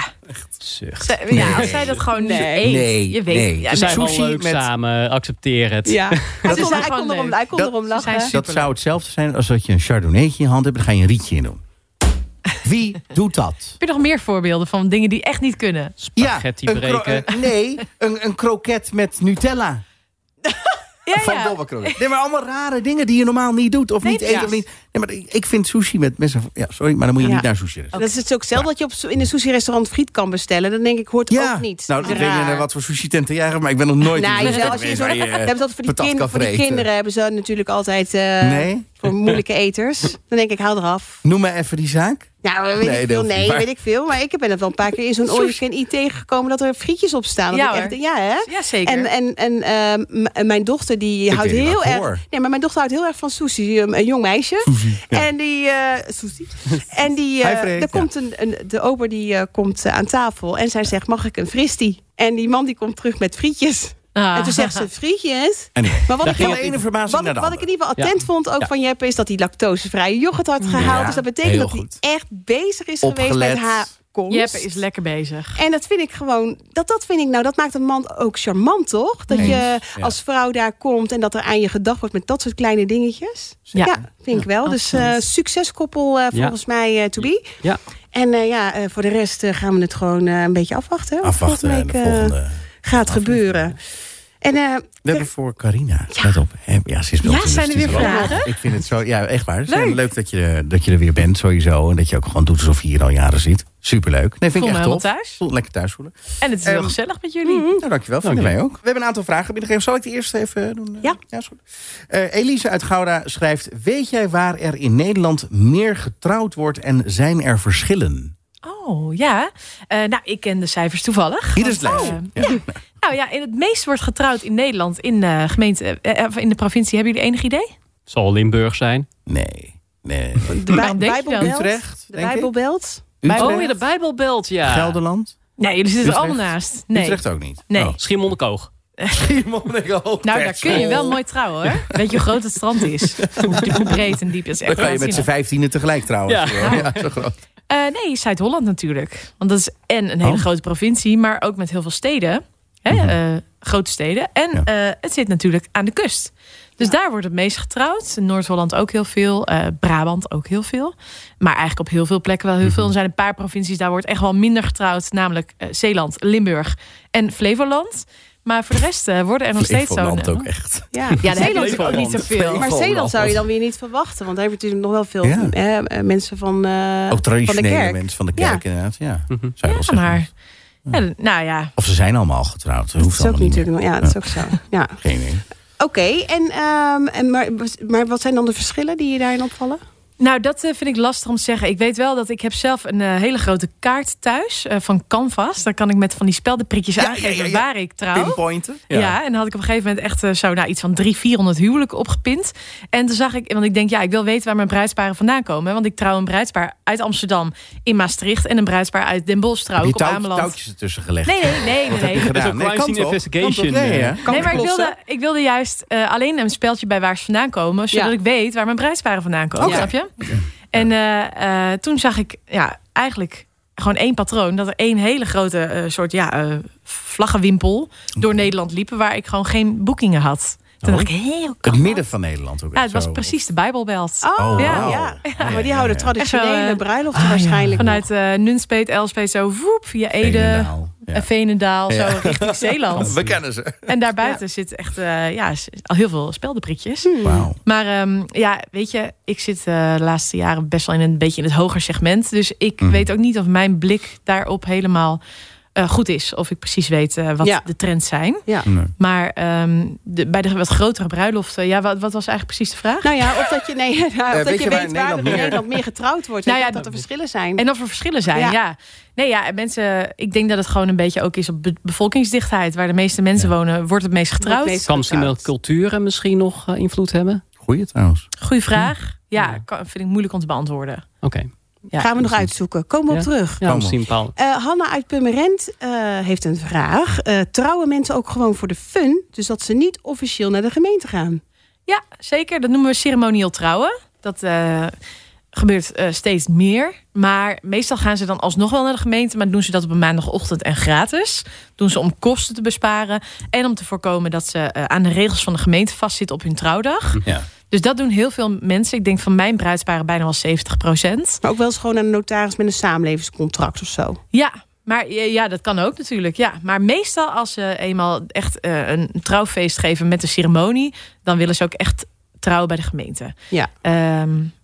Zucht. Zij- ja, als zij dat gewoon niet Nee. eet, Nee, je weet, nee. ja, Ze zijn sushi wel leuk met- samen, accepteer het. Ja, hij is kon, hij gewoon kon erom, leuk. hij kon Dat- erom zijn lachen. Dat zou hetzelfde zijn als dat je een chardonnaytje in je hand hebt... en daar ga je een rietje in doen. Wie doet dat? Heb je nog meer voorbeelden van dingen die echt niet kunnen? Spaghetti een kro- breken. een- nee, een, een kroket met Nutella. Ja, van ja. Dobberkroon. Nee, maar allemaal rare dingen die je normaal niet doet. Of Nee, niet eet. precies. Of niet. Ah, Nee, maar ik, ik vind sushi met mensen. Ja, sorry, maar dan moet je Ja. niet naar sushi. dus. restaurant. Dat is het ook zelf dat je op, zo- in een sushi-restaurant friet kan bestellen. Dan denk ik, hoort Ja, ook niet. nou, ik weet niet Raar. naar wat voor sushi tent jij gaat, maar ik ben nog nooit. in Nou, zo'n jawel, tent als je geweest zo, waar je, eh, Daar hebben ze altijd voor die, patat kind- kan voor die vreten. kinderen hebben ze natuurlijk altijd eh, Nee? voor moeilijke eters. Dan denk ik, haal eraf. Noem maar even die zaak. Nou, weet Nee, ik dat veel. hoeft niet, Nee, maar- weet ik veel. Maar ik ben het wel een paar keer in zo'n oorlog in IT gekomen dat er frietjes op staan. Dat Ja, ik hoor. echt, ja hè? Ja, zeker. En, en, en ehm, m- mijn dochter die houdt weet niet heel wat ik erg. hoor. Nee, maar mijn dochter houdt heel erg van sushi. Een, een jong meisje. En die. eh sushi. En die. eh, Hij vreet, er ja. komt een, een, de ober die eh, komt eh, aan tafel. En zij zegt: Mag ik een fristie? En die man die komt terug met frietjes. Ah. En toen zegt ze: Frietjes. Anyway. Maar wat ik, Daar ging Van wel de ene verbazing wat, naar ik- de wat ik in andere. ieder geval attent vond ook Ja. van Jeppe... is dat hij lactosevrije yoghurt had gehaald. Ja, dus dat betekent heel dat hij goed. echt bezig is geweest Opgelet. met haar komst. Jeppe is lekker bezig. En dat vind ik gewoon, dat, dat vind ik nou, dat maakt een man ook charmant, toch? Dat je ja. als vrouw daar komt en dat er aan je gedacht wordt met dat soort kleine dingetjes. Ja, vind ik wel. Dus eh, succeskoppel eh, volgens mij eh, to be. Ja. En eh, ja, eh, voor de rest eh, gaan we het gewoon eh, een beetje afwachten. Wat Afwachten en volgende de week, eh, volgende. gaat gebeuren. En eh, We hebben voor Carina. Let op. hè. Ja, ze is bij Ja, ons in de zijn er weer studio. vragen? Ik vind het zo, ja, echt waar. Het is heel Leuk dat je, er- dat je er weer bent, sowieso. En dat je ook gewoon doet alsof je hier al jaren zit. Superleuk. Nee, vind Voel ik echt me helemaal tof. thuis. Mhm. Voel- Lekker thuis voelen. En het is heel Ehm, gezellig met jullie. Nou, dankjewel. Vinden wij ook. We hebben een aantal vragen binnengegeven. Zal ik de eerste even doen? Ja. is goed. Eh, Elise uit Gouda schrijft... Weet jij waar er in Nederland meer getrouwd wordt en zijn er verschillen? Oh, ja. Eh, nou, ik ken de cijfers toevallig. Hier is het Want, lijstje. eh, ja. Nou ja, in het meest wordt getrouwd in Nederland in, eh, gemeente, eh, of in de provincie. Hebben jullie enig idee? Zal Limburg zijn. Nee. Nee. de Bij- Waarom denk je Bijbelbelt. dan? Utrecht, De denk ik. Bijbelbelt. Utrecht, Oh, in de Bijbelbelt, ja. Gelderland? Nee, jullie zitten er Utrecht. allemaal naast. Nee. Utrecht ook niet. Nee. Oh. Schiermonnikoog. Nou, daar kun je wel mooi trouwen hoor. Weet je hoe groot het strand is? Hoe, hoe breed en diep het is. Dan Echt kan je met z'n waanzinnig. vijftienen tegelijk trouwen. Ja. Ja, zo groot. Eh, nee, Zuid-Holland natuurlijk. Want dat is en een hele Oh. grote provincie, maar ook met heel veel steden. Hè? eh, grote steden. En eh, het zit natuurlijk aan de kust. Dus daar wordt het meest getrouwd. In Noord-Holland ook heel veel. eh, Brabant ook heel veel. Maar eigenlijk op heel veel plekken wel heel veel. Er zijn een paar provincies, daar wordt echt wel minder getrouwd. Namelijk eh, Zeeland, Limburg en Flevoland. Maar voor de rest eh, worden er nog steeds zo'n... eh, Flevoland ook echt. Ja, Ja, de Zeeland is ook Flevoland. niet zoveel. Maar Zeeland zou je dan weer niet verwachten. Want daar hebben natuurlijk nog wel veel Ja. eh, eh, mensen van, eh, Ook van de traditionele kerk. mensen van de kerk, inderdaad. Ja, Mhm. Zou je wel Ja, zeggen. maar... Ja, nou ja, Of ze zijn allemaal al getrouwd. Dat hoeft Dat is ook allemaal niet meer. natuurlijk nog, ja, dat is ook zo. Ja. Geen idee. Oké, en, ehm, en maar, maar wat zijn dan de verschillen die je daarin opvallen? Nou, dat eh, vind ik lastig om te zeggen. Ik weet wel dat ik heb zelf een eh, hele grote kaart thuis eh, van Canvas. Daar kan ik met van die speldenprikjes Ja, aangeven ja, ja, ja. waar ik trouw. Pinpointen. Ja. en dan had ik op een gegeven moment echt eh, zo nou, iets van drie, 400 huwelijken opgepind. En toen zag ik, want ik denk, ja, ik wil weten waar mijn bruidsparen vandaan komen. Want ik trouw een bruidspaar uit Amsterdam in Maastricht en een bruidspaar uit Den Bosch trouw ik Heb op je touw- Ameland. touwtjes ertussen gelegd? Nee, nee, nee, nee. nee. Gedaan. Dat is ook Nee, crime kan scene toch? investigation, Kan toch? Nee, hè? eh, Nee, maar ik wilde, ik wilde juist eh, alleen een speltje bij waar ze vandaan komen. Zodat Ja. ik weet waar mijn bruidsparen vandaan komen. Oké. Snap je? En eh, eh, toen zag ik ja, eigenlijk gewoon één patroon. Dat er één hele grote eh, soort ja, eh, vlaggenwimpel door Nederland liep. Waar ik gewoon geen boekingen had. Toen dacht ik, heel Het midden van Nederland ook. Ja, echt het was Oh. zo. precies de Bijbelbelt. Oh, Oh, ja, wauw. ja. Ja, Maar die ja, houden ja. traditionele Echt zo, eh, bruiloften waarschijnlijk. Vanuit eh Nunspeet, Elspeet, zo voep, via Ede, Veenendaal, Veenendaal, ja. Veenendaal zo richting Zeeland. We kennen ze. En daarbuiten zit echt eh, ja, s- al heel veel speldenprikjes. Wauw. Maar ehm, ja, weet je, ik zit eh, de laatste jaren best wel in een beetje in het hoger segment. Dus ik weet ook niet of mijn blik daarop helemaal eh, goed is. Of ik precies weet eh, wat Ja. de trends zijn. Ja. Maar ehm, de, bij de wat grotere bruiloften, ja, wat, wat was eigenlijk precies de vraag? Nou ja, of dat je, nee, nou, of weet dat je, je waar weet in waar er Nederland in meer- Nederland meer getrouwd wordt. Nou Nou ja, dat er dat- verschillen zijn. En of er verschillen zijn, ja. Ja. Nee, ja, en mensen, ik denk dat het gewoon een beetje ook is op be- bevolkingsdichtheid. Waar de meeste mensen wonen, wordt het meest getrouwd. meest- Kan misschien wel culturen misschien nog eh, invloed hebben? Goeie trouwens. Goeie vraag. Ja, kan- vind ik moeilijk om te beantwoorden. Oké. Ja. Gaan we nog uitzoeken. Komen we Ja. op terug. Ja, Kan misschien Paul. Eh, Hanna uit Purmerend eh, heeft een vraag. Eh, trouwen mensen ook gewoon voor de fun? Dus dat ze niet officieel naar de gemeente gaan? Ja, zeker. Dat noemen we ceremonieel trouwen. Dat eh, gebeurt eh, steeds meer. Maar meestal gaan ze dan alsnog wel naar de gemeente. Maar doen ze dat op een maandagochtend en gratis. Doen ze om kosten te besparen. En om te voorkomen dat ze eh, aan de regels van de gemeente vastzitten op hun trouwdag. Ja. Dus dat doen heel veel mensen. Ik denk van mijn bruidsparen bijna wel 70 Maar ook wel eens gewoon naar de notaris met een samenlevingscontract of zo. Ja, Maar ja, ja, dat kan ook natuurlijk. Ja. Maar meestal als ze eenmaal echt eh, een trouwfeest geven met een ceremonie, dan willen ze ook echt trouwen bij de gemeente. Ja. Ehm,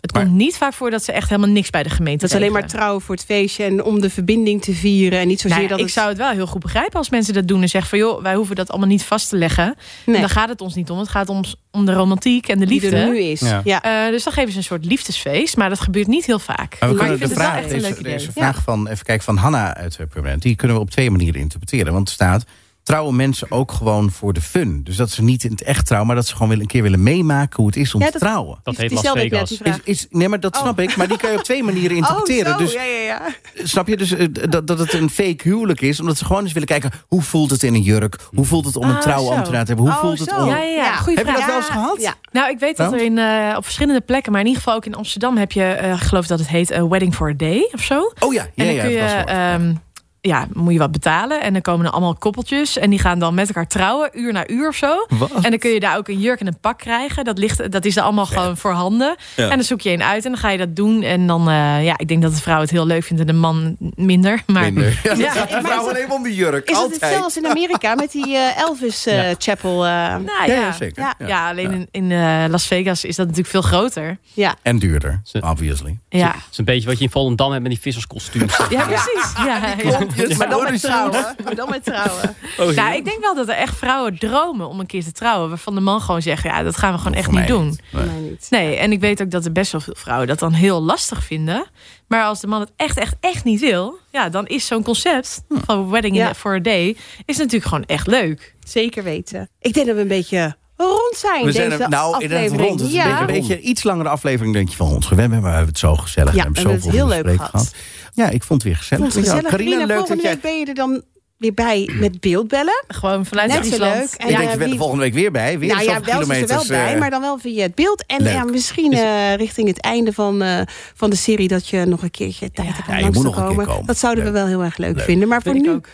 het Maar- komt niet vaak voor dat ze echt helemaal niks bij de gemeente Dat is alleen maar regelen. trouwen voor het feestje en om de verbinding te vieren. En niet zozeer Nou ja, dat ik het- zou het wel heel goed begrijpen als mensen dat doen en zeggen van joh, wij hoeven dat allemaal niet vast te leggen. Nee, Dan gaat het ons niet om. Het gaat ons om de romantiek en de die liefde. er nu is. Ja. Ja. Eh, dus dan geven ze een soort liefdesfeest, maar dat gebeurt niet heel vaak. Maar we Maar ik kunnen de vind het wel vraag, echt een leuk deze, idee. deze vraag van, even kijken, van Hanna uit eh, Permanent... die kunnen we op twee manieren interpreteren. Want er staat, trouwen mensen ook gewoon voor de fun. Dus dat ze niet in het echt trouwen... maar dat ze gewoon willen- een keer willen meemaken hoe het is om Ja, te dat- trouwen. Die- Dat heet die Las stelde ik net, Vegas. die vraag. Is, is, nee, maar Oh. dat snap ik. Maar die kan je op twee manieren interpreteren. Oh, zo, dus ja, ja, ja. snap je dus eh, dat, dat het een fake huwelijk is? Omdat ze gewoon eens willen kijken... hoe voelt het in een jurk? Hoe voelt het om een Ah, trouwambtenaar te hebben? Hoe Oh, voelt het zo. om... Ja, ja, ja. Ja. Goeie Heb je vraag. dat wel eens gehad? Ja. Nou, ik weet dat Want? er in, eh, op verschillende plekken, maar in ieder geval ook in Amsterdam heb je, eh geloof dat het heet eh, Wedding for a Day of zo. Oh ja, ja, en dan ja, kun je, dat is wel- ehm, ja, moet je wat betalen. En dan komen er allemaal koppeltjes en die gaan dan met elkaar trouwen, uur na uur of zo. En dan kun je daar ook een jurk en een pak krijgen. Dat, ligt, dat is er allemaal gewoon voorhanden. Ja. En dan zoek je een uit en dan ga je dat doen. En dan, eh, ja, ik denk dat de vrouw het heel leuk vindt en de man minder. Maar Minder. Ja, Ja, dat gaat de maar vrouw is dat- alleen om de jurk. Is dat altijd. hetzelfde als in Amerika met die eh, Elvis eh, Chapel? eh, nou, Ja, ja, ja, zeker. Ja, Ja. ja, alleen in, in eh, Las Vegas is dat natuurlijk veel groter. ja. En duurder, Ze- obviously. Ja, Dat is een beetje wat je in Volendam hebt met die visserskostuums. Oh. ja precies. Ja, ja. Oh, Maar dan met trouwen. Maar dan met trouwen. Oh, Nou, ik denk wel dat er echt vrouwen dromen om een keer te trouwen. Waarvan de man gewoon zegt, ja, dat gaan we gewoon echt Voor niet mij doen. Nee. Nee, niet. Nee, en ik weet ook dat er best wel veel vrouwen dat dan heel lastig vinden. Maar als de man het echt, echt, echt niet wil... ja, dan is zo'n concept van wedding Ja. in for a day... is natuurlijk gewoon echt leuk. Zeker weten. Ik denk dat we een beetje rond zijn. We zijn deze er, nou, in aflevering. het rond. Het is ja. een, beetje, een beetje iets langere aflevering, denk je, van ons gewend. Maar we hebben het zo gezellig. Ja, we hebben we hebben zoveel het heel gesprek leuk gehad. Ja, ik vond het weer gezellig. Vond het gezellig. Ja, Carina, Carina, leuk dat volgende jij... week ben je er dan weer bij met beeldbellen. Gewoon vanuit Net zo Friesland. leuk. En Ik denk, eh, je bent er wie- volgende week weer bij. Weer nou ja, zoveel wel ze er wel kilometers, bij, eh, maar dan wel via het beeld. En leuk. ja, misschien eh, richting het einde van, eh, van de serie... dat je nog een keertje tijd hebt om Ja, je langs moet te nog een keer komen. komen. Dat zouden Leuk. we wel heel erg leuk, Leuk. vinden. Maar voor Vind ik nu ook.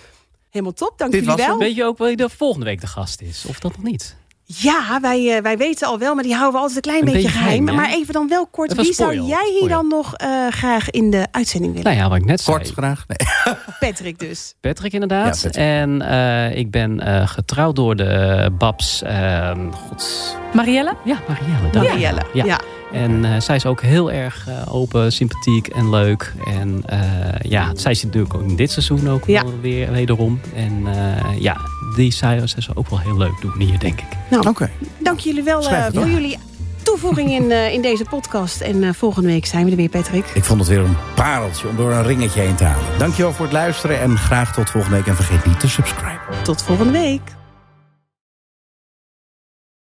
helemaal top. Dank Dit jullie was hem. wel. Weet je ook wel wie de volgende week de gast is? Of dat nog niet? Ja, wij, eh, wij weten al wel, maar die houden we altijd een klein Een beetje, beetje geheim. geheim, hè? maar even dan wel kort. Even Wie zou spoil, jij hier spoil. dan nog eh, graag in de uitzending willen? Nou ja, wat ik net zei. Kort graag. Nee. Patrick dus. Patrick inderdaad. Ja, Patrick. En eh, ik ben eh, getrouwd door de eh, Babs. ehm God. Marielle? Ja, Marielle. dank je. Marielle. Ja. Ja. En eh, zij is ook heel erg eh, open, sympathiek en leuk. En eh, ja, zij zit natuurlijk ook in dit seizoen ook Ja. wel weer wederom. En eh, ja, die zij zij zou ook wel heel leuk doen hier, denk ik. Nou, Oké. dank jullie wel eh, Schrijf het voor op. jullie toevoeging in, eh, in deze podcast. En eh, volgende week zijn we er weer, Patrick. Ik vond het weer een pareltje om door een ringetje heen te halen. Dankjewel voor het luisteren en graag tot volgende week. En vergeet niet te subscriben. Tot volgende week.